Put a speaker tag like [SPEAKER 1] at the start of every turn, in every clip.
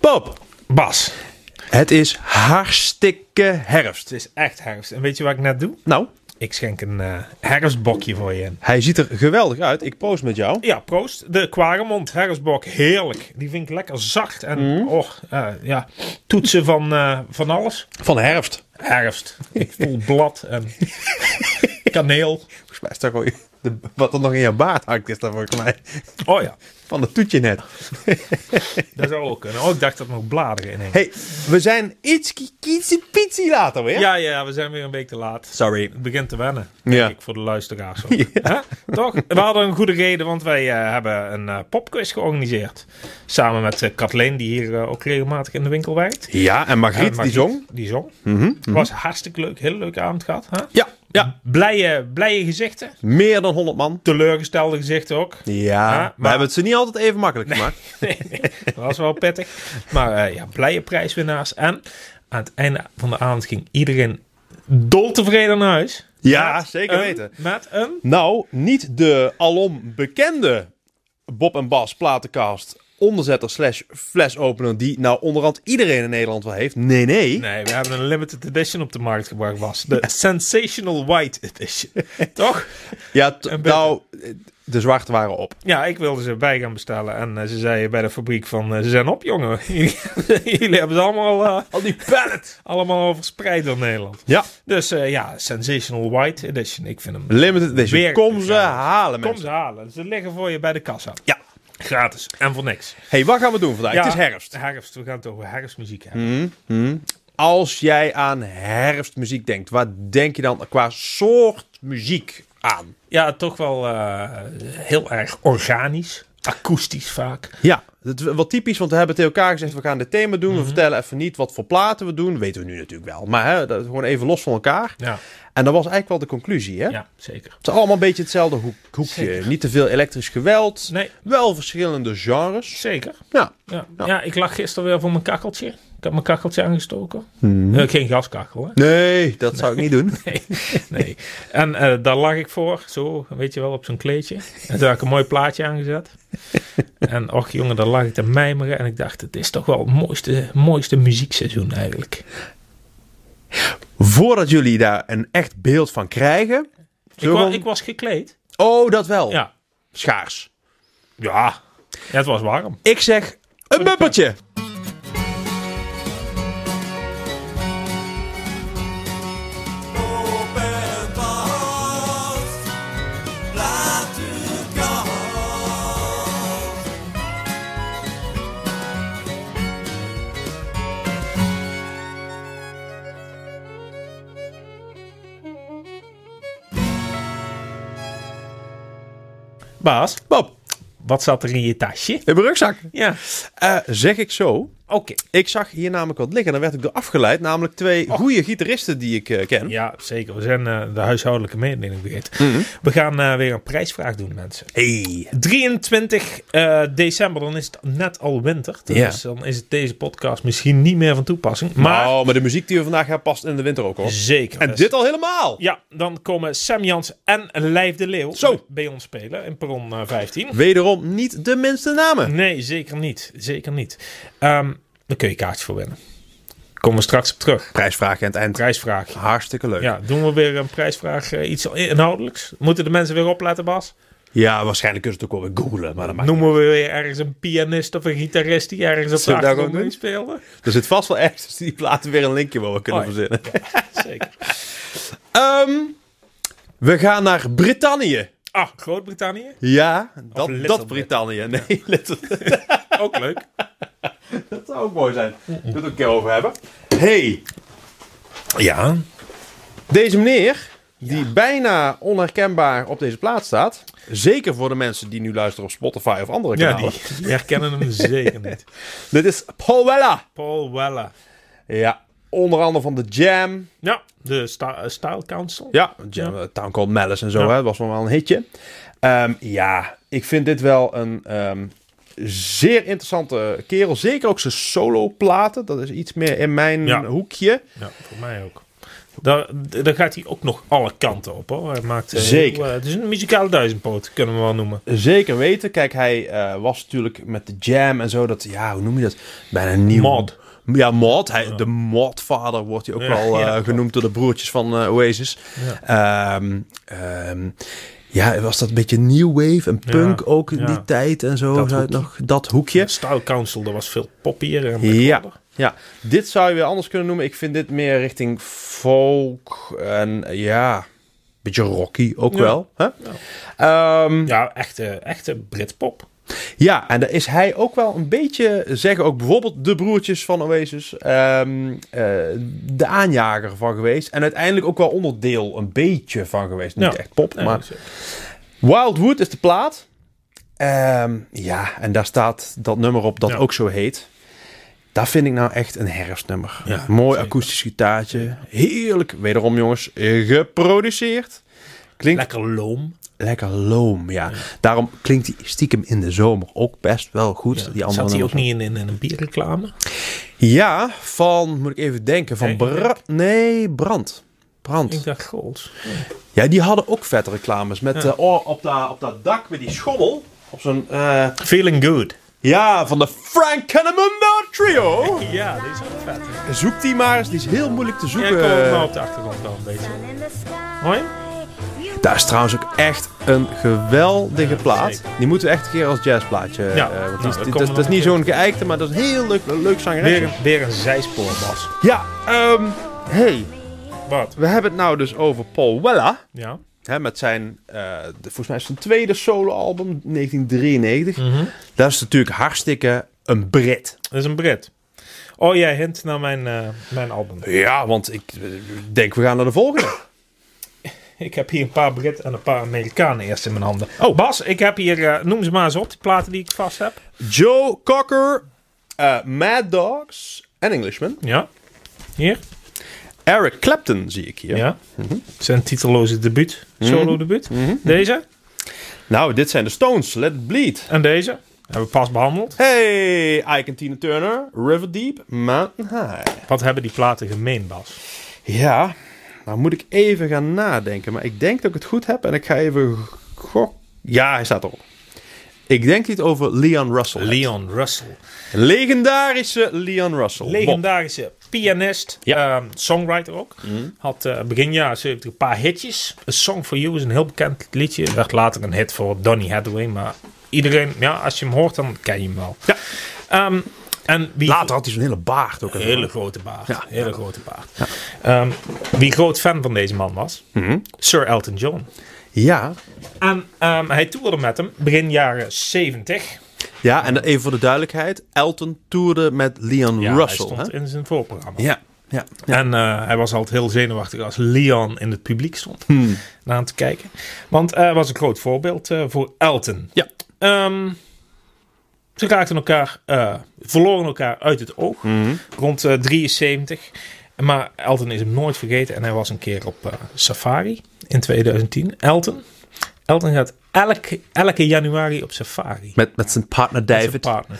[SPEAKER 1] Pop, Bas, het is hartstikke herfst.
[SPEAKER 2] Het is echt herfst. En weet je wat ik net doe?
[SPEAKER 1] Nou,
[SPEAKER 2] Ik schenk een eh, herfstbokje voor je in.
[SPEAKER 1] hij ziet er geweldig uit. Ik proost met jou.
[SPEAKER 2] Ja, proost. De Quaremond herfstbok. Heerlijk. Die vind ik lekker zacht. En
[SPEAKER 1] Mm.
[SPEAKER 2] och, eh, ja, toetsen van, eh, van alles.
[SPEAKER 1] Van herfst.
[SPEAKER 2] Herfst. Ik voel blad en kaneel.
[SPEAKER 1] Volgens mij is dat gewoon de- wat er nog in jouw baard hangt, is dat volgens mij
[SPEAKER 2] Oh ja,
[SPEAKER 1] van dat toetje net.
[SPEAKER 2] dat zou ook kunnen. Oh, ik dacht dat er nog bladeren in hingen.
[SPEAKER 1] hey, we zijn iets kietsie later weer.
[SPEAKER 2] Ja, ja, we zijn weer een week te laat.
[SPEAKER 1] Sorry.
[SPEAKER 2] Het begint te wennen, denk
[SPEAKER 1] Ja.
[SPEAKER 2] ik, voor de luisteraars. ook.
[SPEAKER 1] Ja.
[SPEAKER 2] Hè? Toch? We hadden een goede reden, want wij eh, hebben een eh, popquiz georganiseerd. Samen met eh, Kathleen, die hier eh, ook regelmatig in de winkel werkt.
[SPEAKER 1] Ja, en Margriet,
[SPEAKER 2] Eh, Margriet,
[SPEAKER 1] die zong.
[SPEAKER 2] Die zong. was hartstikke leuk. Hele leuke avond gehad. Hè?
[SPEAKER 1] Ja, ja.
[SPEAKER 2] Blije, blije gezichten.
[SPEAKER 1] Meer dan 100 man.
[SPEAKER 2] Teleurgestelde gezichten ook.
[SPEAKER 1] Ja,
[SPEAKER 2] Ja,
[SPEAKER 1] we
[SPEAKER 2] maar-
[SPEAKER 1] hebben het ze niet altijd even makkelijk gemaakt.
[SPEAKER 2] Nee, nee, dat was wel prettig. Maar eh, ja, blije prijswinnaars. En aan het einde van de avond ging iedereen dol tevreden naar huis.
[SPEAKER 1] Ja, eh, zeker
[SPEAKER 2] Een-
[SPEAKER 1] weten.
[SPEAKER 2] Met een
[SPEAKER 1] Nou, niet de alom bekende Bob en Bas platenkast onderzetter slash flesopener die nou onderhand iedereen in Nederland wel heeft. Nee, nee.
[SPEAKER 2] Nee, we hebben een limited edition op de markt gebracht, was De Sensational White Edition. Toch?
[SPEAKER 1] ja, t-
[SPEAKER 2] en beter.
[SPEAKER 1] nou, de zwart waren op.
[SPEAKER 2] Ja, ik wilde ze bij gaan bestellen. En eh, ze zeiden bij de fabriek van, eh, ze zijn op, jongen. Jullie, jullie hebben ze allemaal, eh,
[SPEAKER 1] Al die pallet.
[SPEAKER 2] allemaal al verspreid door Nederland.
[SPEAKER 1] Ja,
[SPEAKER 2] Dus eh, ja, Sensational White Edition. Ik vind hem...
[SPEAKER 1] limited edition.
[SPEAKER 2] Weer
[SPEAKER 1] Kom ze
[SPEAKER 2] gezellig.
[SPEAKER 1] halen,
[SPEAKER 2] Kom
[SPEAKER 1] mensen.
[SPEAKER 2] ze halen. Ze liggen voor je bij de kassa.
[SPEAKER 1] Ja.
[SPEAKER 2] Gratis. En voor niks.
[SPEAKER 1] hey, wat gaan we doen vandaag? Het is herfst. Mm.
[SPEAKER 2] Herfst. We gaan het over herfstmuziek hebben.
[SPEAKER 1] Als jij aan herfstmuziek denkt, wat denk je dan qua soort muziek aan?
[SPEAKER 2] Ja, toch wel eh, heel erg organisch. Akoestisch vaak.
[SPEAKER 1] Ja, dat is wel typisch, want we hebben tegen elkaar gezegd: we gaan dit thema doen.
[SPEAKER 2] Mhm.
[SPEAKER 1] We vertellen even niet wat voor platen we doen. Weten we nu natuurlijk wel. Maar hè, dat is gewoon even los van elkaar.
[SPEAKER 2] Ja,
[SPEAKER 1] En dat was eigenlijk wel de conclusie. Hè?
[SPEAKER 2] ja zeker.
[SPEAKER 1] Het is allemaal een beetje hetzelfde hoek- hoekje.
[SPEAKER 2] Zeker.
[SPEAKER 1] Niet te veel elektrisch geweld.
[SPEAKER 2] Nee,
[SPEAKER 1] Wel verschillende genres.
[SPEAKER 2] zeker.
[SPEAKER 1] Ja.
[SPEAKER 2] Ja.
[SPEAKER 1] Ja.
[SPEAKER 2] Ja. ik lag gisteren weer voor mijn kakkeltje. Ik heb mijn kakkeltje aangestoken. Eh, geen gaskachel, hè?
[SPEAKER 1] Nee, dat zou ik niet doen.
[SPEAKER 2] Nee. En eh, daar lag ik voor, zo, weet je wel, op zo'n kleedje. En toen had ik een mooi plaatje aangezet. En och jongen, daar lag ik te mijmeren. En ik dacht, het is toch wel het mooiste, mooiste muziekseizoen eigenlijk.
[SPEAKER 1] Voordat jullie daar een echt beeld van krijgen.
[SPEAKER 2] Ik,
[SPEAKER 1] zullen we
[SPEAKER 2] wa-
[SPEAKER 1] gewoon-
[SPEAKER 2] ik was gekleed.
[SPEAKER 1] Oh, dat wel.
[SPEAKER 2] Ja.
[SPEAKER 1] Schaars.
[SPEAKER 2] Ja. ja. Het was warm.
[SPEAKER 1] Ik zeg een bumpertje.
[SPEAKER 3] Op en pas, laat u gaan.
[SPEAKER 2] Baas,
[SPEAKER 1] Bob,
[SPEAKER 2] wat zat er in je tasje?
[SPEAKER 1] in mijn rugzak.
[SPEAKER 2] Ja.
[SPEAKER 1] Eh, zeg ik zo.
[SPEAKER 2] Oké.
[SPEAKER 1] Ik zag hier namelijk wat liggen. Dan werd ik door afgeleid. Namelijk twee goede gitaristen die ik eh, ken.
[SPEAKER 2] Ja, zeker. We zijn eh, de huishoudelijke mededeling vergeten. We gaan eh, weer een prijsvraag doen, mensen.
[SPEAKER 1] Hey.
[SPEAKER 2] 23 eh, december, dan is het net al winter. Dus
[SPEAKER 1] Ja.
[SPEAKER 2] dan is het deze podcast misschien niet meer van toepassing. Maar
[SPEAKER 1] oh, maar de muziek die we vandaag hebben past in de winter ook al.
[SPEAKER 2] zeker.
[SPEAKER 1] En
[SPEAKER 2] Dus-
[SPEAKER 1] dit al helemaal.
[SPEAKER 2] Ja, dan komen Sam Jans en Lijf de Leeuw
[SPEAKER 1] Zo.
[SPEAKER 2] bij ons spelen in Perron eh, 15.
[SPEAKER 1] Wederom niet de minste namen.
[SPEAKER 2] Nee, zeker niet. Zeker niet. Ehm daar kun je kaartjes voor winnen. Komen we straks op terug.
[SPEAKER 1] Prijsvraag aan het eind.
[SPEAKER 2] Prijsvraag.
[SPEAKER 1] Hartstikke leuk. Ja.
[SPEAKER 2] Ja, doen we weer een prijsvraag, eh, iets inhoudelijks? Moeten de mensen weer opletten, Bas?
[SPEAKER 1] waarschijnlijk kunnen ze het ook wel weer googlen. Maar dat maakt...
[SPEAKER 2] Noemen we weer ergens een pianist of een gitarist die ergens op de
[SPEAKER 1] Zullen we dat gewoon
[SPEAKER 2] achtergrond
[SPEAKER 1] doen?
[SPEAKER 2] mee speelde?
[SPEAKER 1] Er zit vast wel ergens tussen die platen weer een linkje waar we kunnen
[SPEAKER 2] Oh ja.
[SPEAKER 1] verzinnen.
[SPEAKER 2] Zeker.
[SPEAKER 1] Ehm, we gaan naar Brittannië.
[SPEAKER 2] Ah, Groot-Brittannië.
[SPEAKER 1] Ja, dat,
[SPEAKER 2] Little
[SPEAKER 1] dat Brittannië. Nee, Little-
[SPEAKER 2] Ook leuk.
[SPEAKER 1] dat zou ook mooi zijn. Kunnen we het ook een keer over hebben. hey,
[SPEAKER 2] Ja.
[SPEAKER 1] Deze meneer, die bijna onherkenbaar op deze plaats staat. Zeker voor de mensen die nu luisteren op Spotify of andere
[SPEAKER 2] Ja,
[SPEAKER 1] kanalen.
[SPEAKER 2] die, die herkennen hem zeker niet.
[SPEAKER 1] Dit is Paul Wella.
[SPEAKER 2] Paul Weller.
[SPEAKER 1] Ja, onder andere van The Jam.
[SPEAKER 2] Ja, de sta- eh, Style Council.
[SPEAKER 1] Ja, Jam, eh, Town Called Malice en zo.
[SPEAKER 2] Ja.
[SPEAKER 1] Hè? Dat was nog wel een hitje. Ehm, ja, ik vind dit wel een ehm, zeer interessante kerel. Zeker ook zijn solo platen. Dat is iets meer in mijn
[SPEAKER 2] Ja.
[SPEAKER 1] hoekje.
[SPEAKER 2] Ja, voor mij ook. Daar, d- daar gaat hij ook nog alle kanten op hoor. Hij maakt, eh,
[SPEAKER 1] Zeker.
[SPEAKER 2] heel, eh, het is een muzikale duizendpoot, kunnen we wel noemen.
[SPEAKER 1] Zeker weten. Kijk, hij eh, was natuurlijk met de jam en zo. Dat, ja, hoe noem je dat? Bijna nieuw.
[SPEAKER 2] Mod.
[SPEAKER 1] Ja, mod. Hij, De modvader wordt hij ook
[SPEAKER 2] Ja,
[SPEAKER 1] wel eh,
[SPEAKER 2] ja, klopt.
[SPEAKER 1] genoemd door de broertjes van eh, Oasis. Ehm, ehm, ja, was dat een beetje new wave en punk
[SPEAKER 2] Ja,
[SPEAKER 1] ook in
[SPEAKER 2] ja.
[SPEAKER 1] die tijd en zo.
[SPEAKER 2] Dat
[SPEAKER 1] Zou het
[SPEAKER 2] hoekje.
[SPEAKER 1] nog, dat hoekje.
[SPEAKER 2] Style Council, daar was veel poppier. En
[SPEAKER 1] Ja.
[SPEAKER 2] recorder.
[SPEAKER 1] Ja, dit zou je weer anders kunnen noemen. Ik vind dit meer richting folk en eh, ja, beetje rocky ook
[SPEAKER 2] Ja.
[SPEAKER 1] wel. Hè? Ehm,
[SPEAKER 2] ja, echte, echte Britpop.
[SPEAKER 1] Ja, en daar is hij ook wel een beetje, zeggen ook bijvoorbeeld de broertjes van Oasis, ehm, eh, de aanjager van geweest. En uiteindelijk ook wel onderdeel een beetje van geweest. Niet
[SPEAKER 2] Ja.
[SPEAKER 1] echt pop,
[SPEAKER 2] Nee,
[SPEAKER 1] maar
[SPEAKER 2] dat is-
[SPEAKER 1] Wildwood is de plaat. Ehm, ja, en daar staat dat nummer op dat
[SPEAKER 2] Ja.
[SPEAKER 1] ook zo heet. Dat vind ik nou echt een herfstnummer.
[SPEAKER 2] Ja,
[SPEAKER 1] Mooi
[SPEAKER 2] zeker.
[SPEAKER 1] akoestisch gitaartje. Heerlijk. Wederom jongens, eh, geproduceerd. Klinkt
[SPEAKER 2] Lekker loom.
[SPEAKER 1] lekker loom, ja. Daarom klinkt die stiekem in de zomer ook best wel goed.
[SPEAKER 2] Ja.
[SPEAKER 1] Die andere
[SPEAKER 2] Zat hij
[SPEAKER 1] nummers
[SPEAKER 2] ook niet in, in, in een bierreclame?
[SPEAKER 1] Ja, van, moet ik even denken, van
[SPEAKER 2] Nee,
[SPEAKER 1] Bra- Nee, Brand. Brand.
[SPEAKER 2] Ik dacht, goals.
[SPEAKER 1] Ja, die hadden ook vette reclames. Met eh, oh, op, dat, op dat dak met die schommel. Op zo'n... eh,
[SPEAKER 2] Feeling good.
[SPEAKER 1] ja, van de Frank Canamundo Trio.
[SPEAKER 2] Ja, die is ook vet. hè?
[SPEAKER 1] Zoek die maar eens. Die is heel moeilijk te
[SPEAKER 2] Ja,
[SPEAKER 1] zoeken.
[SPEAKER 2] ik hoor hem nou op de achtergrond wel een beetje. Hoor je hem?
[SPEAKER 1] Daar is trouwens ook echt een geweldige plaat.
[SPEAKER 2] zeker.
[SPEAKER 1] Die moeten we echt een keer als jazzplaatje... eh,
[SPEAKER 2] Ja,
[SPEAKER 1] want die is-
[SPEAKER 2] nou,
[SPEAKER 1] die-
[SPEAKER 2] dat
[SPEAKER 1] dat,
[SPEAKER 2] komen
[SPEAKER 1] is-
[SPEAKER 2] we
[SPEAKER 1] dat is
[SPEAKER 2] nog
[SPEAKER 1] niet
[SPEAKER 2] een
[SPEAKER 1] zo'n geëikte, maar dat is een heel leuk, leuk zangeres.
[SPEAKER 2] Weer een, weer een zijspoor, Bas.
[SPEAKER 1] Ja, ehm hey,
[SPEAKER 2] Wat?
[SPEAKER 1] we hebben het nou dus over Paul Weller.
[SPEAKER 2] Ja.
[SPEAKER 1] Hè, met zijn, eh, de- volgens mij is het zijn tweede soloalbum, 1993. Dat is natuurlijk hartstikke een Brit.
[SPEAKER 2] Dat is een Brit. Oh, jij hint naar mijn, eh, mijn album.
[SPEAKER 1] Ja, want ik eh, denk we gaan naar de volgende.
[SPEAKER 2] Ik heb hier een paar Brit en een paar Amerikanen eerst in mijn handen. Oh, Bas, ik heb hier, eh, noem ze maar eens op, die platen die ik vast heb.
[SPEAKER 1] Joe Cocker, eh, Mad Dogs en Englishman.
[SPEAKER 2] Ja. Hier.
[SPEAKER 1] Eric Clapton zie ik hier.
[SPEAKER 2] Ja. Zijn titelloze debuut. Solo debuut. Deze.
[SPEAKER 1] Nou, dit zijn de Stones, Let It Bleed.
[SPEAKER 2] En deze. Hebben we pas behandeld.
[SPEAKER 1] Hey, Ike en Tina Turner, River Deep, Mountain High.
[SPEAKER 2] Wat hebben die platen gemeen, Bas?
[SPEAKER 1] Ja, nou moet ik even gaan nadenken. Maar ik denk dat ik het goed heb en ik ga even gok. Ja, hij staat erop. Ik denk niet over Leon Russell. hebt.
[SPEAKER 2] Leon Russell.
[SPEAKER 1] Legendarische Leon Russell. Bob.
[SPEAKER 2] Legendarische pianist,
[SPEAKER 1] Ja. Mhm.
[SPEAKER 2] ehm, songwriter ook. Had eh, begin jaren 70 een paar hitjes. A Song for You is een heel bekend liedje. Werd later een hit voor Donny Hathaway. Maar iedereen, ja, als je hem hoort, dan ken je hem wel.
[SPEAKER 1] Ja.
[SPEAKER 2] Ehm, en wie
[SPEAKER 1] Later had hij zo'n hele baard ook.
[SPEAKER 2] Een hele grote baard.
[SPEAKER 1] Ja. Mhm.
[SPEAKER 2] hele grote baard. Ehm, wie groot fan van deze man was? Sir Elton John.
[SPEAKER 1] Ja.
[SPEAKER 2] En ehm, hij toerde met hem begin jaren 70.
[SPEAKER 1] ja, en even voor de duidelijkheid. Elton toerde met Leon
[SPEAKER 2] Ja,
[SPEAKER 1] Russell.
[SPEAKER 2] hij stond
[SPEAKER 1] hè?
[SPEAKER 2] in zijn voorprogramma.
[SPEAKER 1] Ja, ja.
[SPEAKER 2] En eh, hij was altijd heel zenuwachtig als Leon in het publiek stond.
[SPEAKER 1] Hmm.
[SPEAKER 2] Naar hem te kijken. Want eh, hij was een groot voorbeeld eh, voor Elton.
[SPEAKER 1] Ja.
[SPEAKER 2] Ehm, ze raakten elkaar, eh, verloren elkaar uit het oog.
[SPEAKER 1] Hmm.
[SPEAKER 2] Rond eh, 73. Maar Elton is hem nooit vergeten. En hij was een keer op eh, safari in 2010. Elton. Elton gaat elke, elke januari op safari.
[SPEAKER 1] Met, met zijn partner David.
[SPEAKER 2] Zijn partner.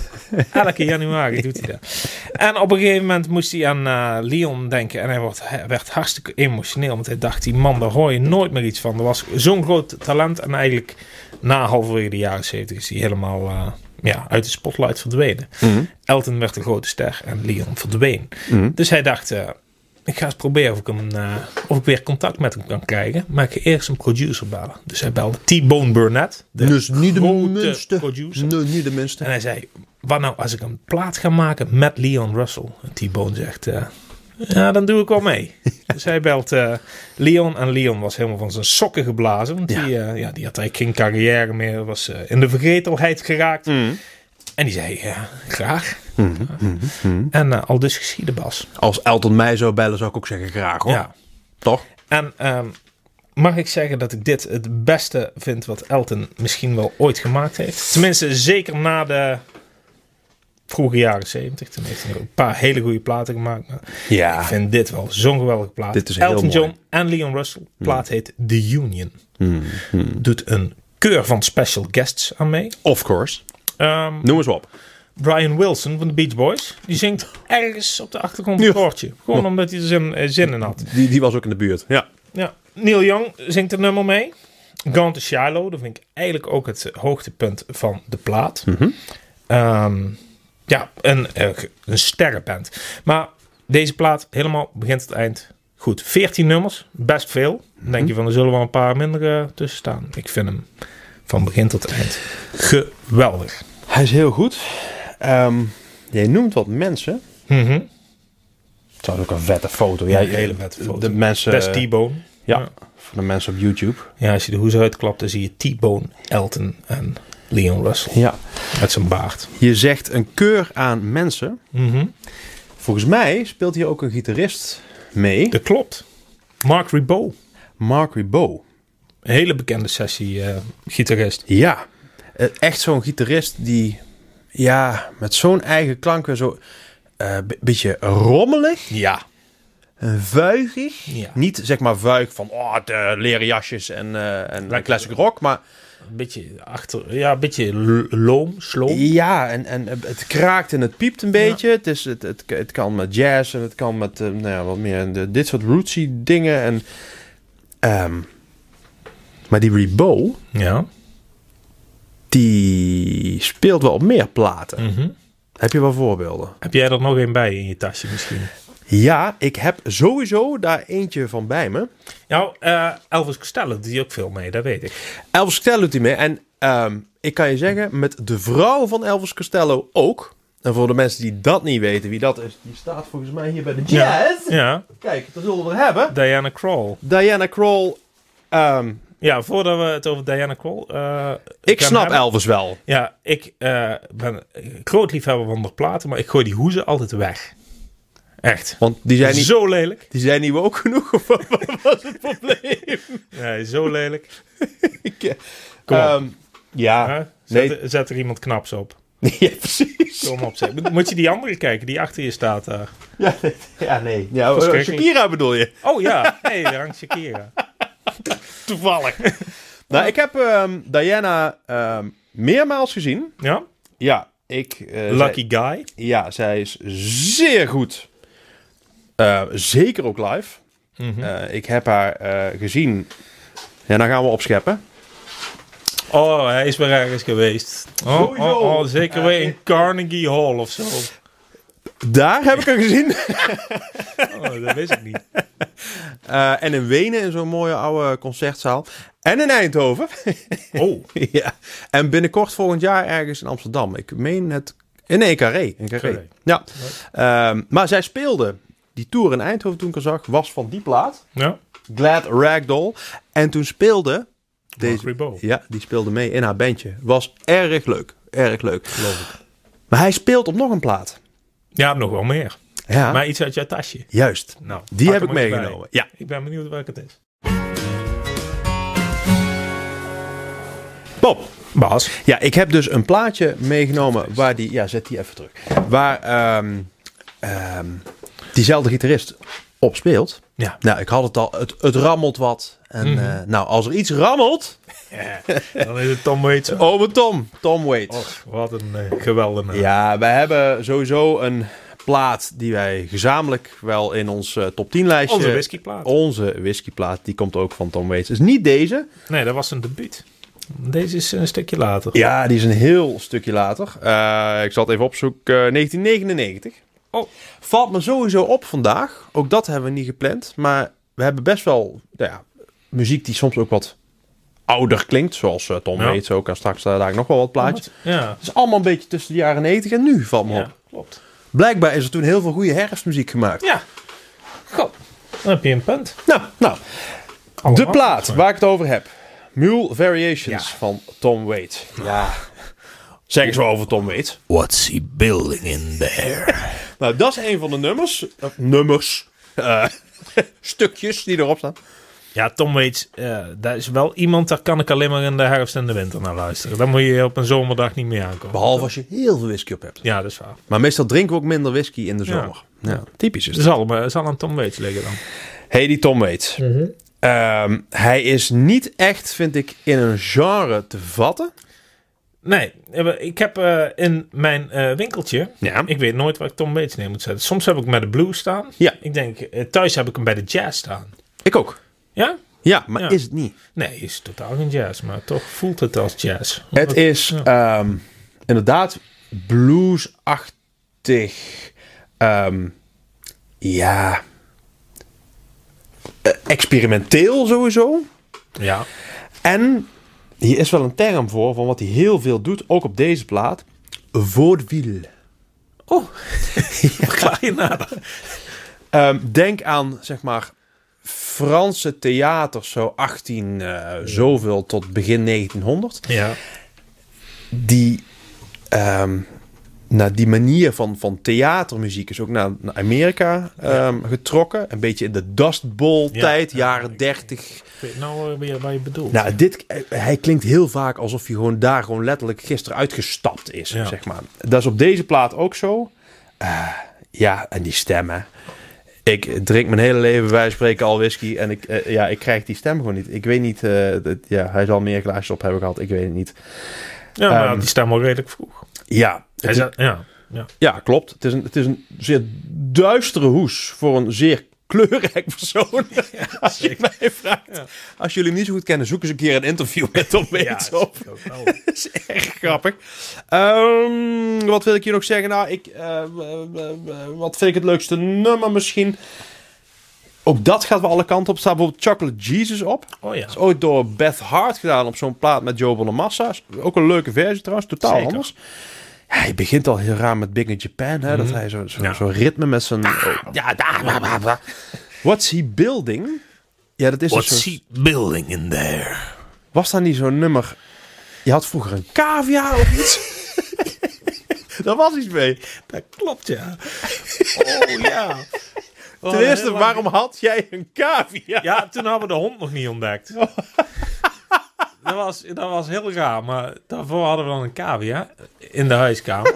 [SPEAKER 2] Elke januari doet hij dat. En op een gegeven moment moest hij aan eh, Leon denken. En hij wordt- hij werd, hartstikke emotioneel. Want hij dacht, die man, daar hoor je nooit meer iets van. Er was zo'n groot talent. En eigenlijk na halverwege de jaren zeventig is hij helemaal eh, ja, uit de spotlight verdwenen.
[SPEAKER 1] Mhm.
[SPEAKER 2] Elton werd een grote ster en Leon verdween. Dus hij dacht... eh, ik ga eens proberen of ik, hem, eh, of ik weer contact met hem kan krijgen. Maar ik ga eerst een producer bellen. Dus hij belde T-Bone Burnett. De
[SPEAKER 1] dus niet de
[SPEAKER 2] grote
[SPEAKER 1] minste.
[SPEAKER 2] producer.
[SPEAKER 1] Nee, niet de minste.
[SPEAKER 2] En hij zei, wat nou als ik een plaat ga maken met Leon Russell? En T-Bone zegt, eh, ja, dan doe ik wel mee. dus hij belt eh, Leon. En Leon was helemaal van zijn sokken geblazen. Want die, eh, ja, die had eigenlijk geen carrière meer. Was eh, in de vergetelheid geraakt. En die zei, ja, graag. En eh, al dus geschiedde Bas.
[SPEAKER 1] Als Elton mij zou bellen, zou ik ook zeggen graag hoor.
[SPEAKER 2] Ja.
[SPEAKER 1] Toch?
[SPEAKER 2] En ehm, mag ik zeggen dat ik dit het beste vind wat Elton misschien wel ooit gemaakt heeft? Tenminste, zeker na de vroege jaren zeventig. Toen heeft hij nog een paar hele goede platen gemaakt. Maar
[SPEAKER 1] Ja.
[SPEAKER 2] ik vind dit wel zo'n geweldige plaat.
[SPEAKER 1] Dit is heel
[SPEAKER 2] Elton
[SPEAKER 1] mooi. Hmm.
[SPEAKER 2] John en Leon Russell. plaat heet The Union. Doet een keur van special guests aan mee.
[SPEAKER 1] Of course.
[SPEAKER 2] Ehm,
[SPEAKER 1] Noem eens op.
[SPEAKER 2] Brian Wilson van de Beach Boys. Die zingt ergens op de achtergrond een
[SPEAKER 1] Ja.
[SPEAKER 2] koortje. Gewoon omdat hij er zin, eh, zin in had.
[SPEAKER 1] Die, die was ook in de buurt. Ja.
[SPEAKER 2] Ja, Neil Young zingt het nummer mee. Gone to Shiloh, dat vind ik eigenlijk ook het eh, hoogtepunt van de plaat.
[SPEAKER 1] Mhm.
[SPEAKER 2] Ehm, ja, een, eh, een sterrenband. Maar deze plaat, helemaal begint het eind. Goed, 14 nummers, best veel. Dan
[SPEAKER 1] Mhm.
[SPEAKER 2] denk je van, er zullen wel een paar minder eh, tussen staan. Ik vind hem van begin tot eind geweldig.
[SPEAKER 1] Hij is heel goed. Ehm, jij noemt wat mensen.
[SPEAKER 2] Mhm.
[SPEAKER 1] Het is ook een vette foto.
[SPEAKER 2] Ja,
[SPEAKER 1] Jij,
[SPEAKER 2] een hele vette foto.
[SPEAKER 1] De mensen,
[SPEAKER 2] Dat is T-Bone.
[SPEAKER 1] ja, voor de mensen op YouTube.
[SPEAKER 2] Ja, als je de hoes uitklapt, dan zie je T-Bone, Elton en Leon Russell.
[SPEAKER 1] Ja.
[SPEAKER 2] Met zijn baard.
[SPEAKER 1] Je zegt een keur aan mensen.
[SPEAKER 2] Mhm.
[SPEAKER 1] Volgens mij speelt hier ook een gitarist mee.
[SPEAKER 2] Dat klopt. Mark Ribot.
[SPEAKER 1] Mark Ribot.
[SPEAKER 2] Een hele bekende eh, sessie-gitarist.
[SPEAKER 1] Ja. Eh, Echt zo'n gitarist die... Ja, met zo'n eigen klank weer zo... Een beetje rommelig,
[SPEAKER 2] ja.
[SPEAKER 1] en vuigig.
[SPEAKER 2] ja.
[SPEAKER 1] Niet zeg maar vuig van oh, de leren jasjes en, eh, en
[SPEAKER 2] Lekker.
[SPEAKER 1] classic rock, maar
[SPEAKER 2] Een beetje achter... Ja, een beetje l- loom, sloom.
[SPEAKER 1] ja, en, en het kraakt en het piept een beetje. Het, is, het, het, het kan met jazz en het kan met eh, nou ja, wat meer de, dit soort rootsy dingen. En, ehm, maar die Rebo,
[SPEAKER 2] Ja.
[SPEAKER 1] die speelt wel op meer platen.
[SPEAKER 2] Mhm.
[SPEAKER 1] Heb je wel voorbeelden?
[SPEAKER 2] Heb jij er nog een bij in je tasje misschien?
[SPEAKER 1] Ja, ik heb sowieso daar eentje van bij me.
[SPEAKER 2] Nou, eh, Elvis Costello doet die ook veel mee, dat weet ik.
[SPEAKER 1] Elvis Costello doet hij mee. En ehm, ik kan je zeggen, met de vrouw van Elvis Costello ook. En voor de mensen die dat niet weten, wie dat is, die staat volgens mij hier bij de jazz.
[SPEAKER 2] Ja,
[SPEAKER 1] Kijk, dat zullen we er hebben.
[SPEAKER 2] Diana Krall.
[SPEAKER 1] Diana Krall. ehm,
[SPEAKER 2] Ja, voordat we het over Diana Krall... eh,
[SPEAKER 1] ik
[SPEAKER 2] gaan
[SPEAKER 1] snap
[SPEAKER 2] hebben-
[SPEAKER 1] Elvis wel.
[SPEAKER 2] Ja, ik eh, ben een groot liefhebber van de platen, maar ik gooi die hoezen altijd weg. Echt.
[SPEAKER 1] Want die zijn niet,
[SPEAKER 2] Zo lelijk.
[SPEAKER 1] die zijn niet ook genoeg. of Wat wat was het probleem?
[SPEAKER 2] Nee, zo lelijk.
[SPEAKER 1] Ik,
[SPEAKER 2] Kom op.
[SPEAKER 1] ehm, ja.
[SPEAKER 2] Hè?
[SPEAKER 1] nee.
[SPEAKER 2] Zet, zet er iemand knaps op.
[SPEAKER 1] ja, precies.
[SPEAKER 2] Kom op, zeg. Moet- Moet je die andere kijken die achter je staat eh? daar?
[SPEAKER 1] Ja, nee. Ja, nee. Ja, eh,
[SPEAKER 2] Verschrikkelijk.
[SPEAKER 1] Shakira bedoel je?
[SPEAKER 2] Oh ja, hey, daar hangt Shakira.
[SPEAKER 1] Toevallig. nou, ik heb ehm, Diana ehm, meermaals gezien.
[SPEAKER 2] Ja?
[SPEAKER 1] Ja, ik. eh,
[SPEAKER 2] Lucky Guy.
[SPEAKER 1] zij- ja, zij is zeer goed. Eh, zeker ook live.
[SPEAKER 2] Mhm.
[SPEAKER 1] Eh, ik heb haar eh, gezien. Ja, dan gaan we opscheppen.
[SPEAKER 2] Oh, hij is weer ergens geweest. Oh,
[SPEAKER 1] Sowieso.
[SPEAKER 2] oh, oh, zeker weer in Carnegie Hall of zo.
[SPEAKER 1] Daar heb ik haar gezien.
[SPEAKER 2] Oh, dat wist ik niet.
[SPEAKER 1] Eh, en in Wenen in zo'n mooie oude concertzaal. En in Eindhoven.
[SPEAKER 2] Oh,
[SPEAKER 1] ja. En binnenkort volgend jaar ergens in Amsterdam. Ik meen het... eh, Nee, Carré. In Carré.
[SPEAKER 2] Carré.
[SPEAKER 1] Ja. Ehm, maar zij speelde. Die tour in Eindhoven toen ik haar zag, was van die plaat.
[SPEAKER 2] ja.
[SPEAKER 1] Glad Ragdoll. En toen speelde...
[SPEAKER 2] Deze.
[SPEAKER 1] Deze, ja, die speelde mee in haar bandje. Was erg leuk. Erg leuk. Maar hij speelt op nog een plaat.
[SPEAKER 2] Ja, nog wel meer.
[SPEAKER 1] Ja,
[SPEAKER 2] Maar iets uit jouw tasje.
[SPEAKER 1] juist.
[SPEAKER 2] Nou,
[SPEAKER 1] Ah. Die
[SPEAKER 2] pak
[SPEAKER 1] heb ik
[SPEAKER 2] hem eens bij.
[SPEAKER 1] meegenomen. Ja.
[SPEAKER 2] Ik ben benieuwd welke het is.
[SPEAKER 1] Bob.
[SPEAKER 2] Bas.
[SPEAKER 1] Ja, ik heb dus een plaatje meegenomen waar die... Ja, zet die even terug. Waar ehm, ehm, diezelfde gitarist op speelt.
[SPEAKER 2] Ja.
[SPEAKER 1] Nou, ik had het al. Het, het rammelt wat. En
[SPEAKER 2] Mhm.
[SPEAKER 1] eh, nou, als er iets rammelt...
[SPEAKER 2] Dan is het Tom Waits.
[SPEAKER 1] Ome Tom. Tom Waits.
[SPEAKER 2] Och, wat een eh, geweldige naam.
[SPEAKER 1] Ja, wij hebben sowieso een plaat die wij gezamenlijk wel in ons eh, top 10 lijstje...
[SPEAKER 2] Onze whiskyplaat.
[SPEAKER 1] Onze whiskyplaat, die komt ook van Tom Waits. Dus niet deze.
[SPEAKER 2] Nee, dat was een debuut. Deze is een stukje later.
[SPEAKER 1] Ja, die is een heel stukje later. Eh, ik zal het even opzoeken. Eh, 1999.
[SPEAKER 2] Oh.
[SPEAKER 1] Valt me sowieso op vandaag. Ook dat hebben we niet gepland. Maar we hebben best wel nou ja, muziek die soms ook wat ouder klinkt. Zoals eh, Tom
[SPEAKER 2] Ja.
[SPEAKER 1] Waits ook. En straks eh, daar nog wel wat plaatjes.
[SPEAKER 2] Ja,
[SPEAKER 1] Het is allemaal een beetje tussen de jaren 90 en nu, valt me
[SPEAKER 2] ja
[SPEAKER 1] op.
[SPEAKER 2] klopt.
[SPEAKER 1] Blijkbaar is er toen heel veel goede herfstmuziek gemaakt.
[SPEAKER 2] Ja. Goh. Dan heb je een punt.
[SPEAKER 1] Nou, nou de
[SPEAKER 2] Allemaal.
[SPEAKER 1] plaat waar ik het over heb. Mule Variations
[SPEAKER 2] Ja.
[SPEAKER 1] van Tom Waits. Ja. Zeg eens wat over Tom Waits.
[SPEAKER 3] What's he building in there?
[SPEAKER 1] Nou, dat is een van de nummers. Of nummers. Eh, stukjes die erop staan.
[SPEAKER 2] Ja, Tom Waits, eh daar is wel iemand, daar kan ik alleen maar in de herfst en de winter naar luisteren. Dan moet je op een zomerdag niet meer aankomen.
[SPEAKER 1] Behalve als je heel veel whisky op hebt.
[SPEAKER 2] Ja, dat is waar.
[SPEAKER 1] Maar meestal drinken we ook minder whisky in de
[SPEAKER 2] Ja.
[SPEAKER 1] zomer. Ja. typisch is
[SPEAKER 2] Het
[SPEAKER 1] dat.
[SPEAKER 2] zal, me- het zal aan Tom Waits liggen dan.
[SPEAKER 1] Hey, die Tom Waits. Ehm, hij is niet echt, vind ik, in een genre te vatten.
[SPEAKER 2] Nee, ik heb eh, in mijn eh, winkeltje.
[SPEAKER 1] Ja.
[SPEAKER 2] Ik weet nooit waar ik Tom Waits neer moet zetten. Soms heb ik hem bij de blues staan.
[SPEAKER 1] Ja.
[SPEAKER 2] Ik denk, eh, thuis heb ik hem bij de jazz staan.
[SPEAKER 1] Ik ook.
[SPEAKER 2] Ja?
[SPEAKER 1] Ja, maar
[SPEAKER 2] Ja.
[SPEAKER 1] is het niet?
[SPEAKER 2] Nee, is totaal geen jazz, maar toch voelt het als jazz.
[SPEAKER 1] Het is ehm, inderdaad bluesachtig. ehm, ja. eh, experimenteel sowieso.
[SPEAKER 2] Ja.
[SPEAKER 1] En hier is wel een term voor van wat hij heel veel doet, ook op deze plaat. Vaudeville.
[SPEAKER 2] Oh, klaar je nader.
[SPEAKER 1] Ehm, denk aan, zeg maar, Franse theaters zo 18 eh, zoveel tot begin 1900.
[SPEAKER 2] Ja.
[SPEAKER 1] die, ehm nou, die manier van, van theatermuziek is ook naar, naar Amerika ehm, getrokken. Een beetje in de Dust Bowl
[SPEAKER 2] Ja.
[SPEAKER 1] tijd,
[SPEAKER 2] Ja.
[SPEAKER 1] jaren 30.
[SPEAKER 2] Ik weet nou eh, weer wat je bedoelt.
[SPEAKER 1] Nou, dit, eh, hij klinkt heel vaak alsof hij gewoon daar gewoon letterlijk gisteren uitgestapt is,
[SPEAKER 2] Ja.
[SPEAKER 1] zeg maar. Dat is op deze plaat ook zo. Eh, ja, en die stemmen. Ik drink mijn hele leven, wij spreken al whisky. En ik, eh, ja, ik krijg die stem gewoon niet. Ik weet niet, eh, dat- ja, hij zal meer glaasjes op hebben gehad, ik weet het niet.
[SPEAKER 2] ja, maar
[SPEAKER 1] ehm,
[SPEAKER 2] die staan wel redelijk vroeg.
[SPEAKER 1] Ja,
[SPEAKER 2] Hij
[SPEAKER 1] het-
[SPEAKER 2] zat- ja. ja.
[SPEAKER 1] Ja, klopt. Het is een, het is een zeer duistere hoes voor een zeer kleurrijk persoon. als je mij vraagt.
[SPEAKER 2] Ja.
[SPEAKER 1] Als jullie hem niet zo goed kennen, zoek eens een keer een interview met Tom Waits op.
[SPEAKER 2] is ook wel.
[SPEAKER 1] Dat is erg grappig. Ehm, wat wil ik hier nog zeggen? Nou, ik, eh, eh, eh, eh, wat vind ik het leukste nummer misschien? Ook dat gaat wel alle kanten op. Er staat bijvoorbeeld Chocolate Jesus op.
[SPEAKER 2] Oh ja.
[SPEAKER 1] Dat is ooit door Beth Hart gedaan op zo'n plaat met Joe Bonamassa. Is Ook een leuke versie trouwens, totaal
[SPEAKER 2] Zeker.
[SPEAKER 1] anders. Ja, hij begint al heel raar met Big in Japan. Hè?
[SPEAKER 3] Mhm.
[SPEAKER 1] Dat hij zo'n zo,
[SPEAKER 2] Ja.
[SPEAKER 1] zo'n ritme met zijn...
[SPEAKER 3] Ah,
[SPEAKER 1] ja, da, ba, ba, ba. What's he building? Ja, dat is dus
[SPEAKER 3] What's
[SPEAKER 1] zo'n-
[SPEAKER 3] he building in there?
[SPEAKER 1] Was daar niet zo'n nummer... Je had vroeger een cavia of iets? Daar was iets mee.
[SPEAKER 2] Dat klopt, ja. Oh ja.
[SPEAKER 1] Ten eerste, waarom had jij een cavia?
[SPEAKER 2] Ja, toen hadden we de hond nog niet ontdekt.
[SPEAKER 1] Oh.
[SPEAKER 2] Dat was, dat was heel raar, maar daarvoor hadden we dan een cavia in de huiskamer.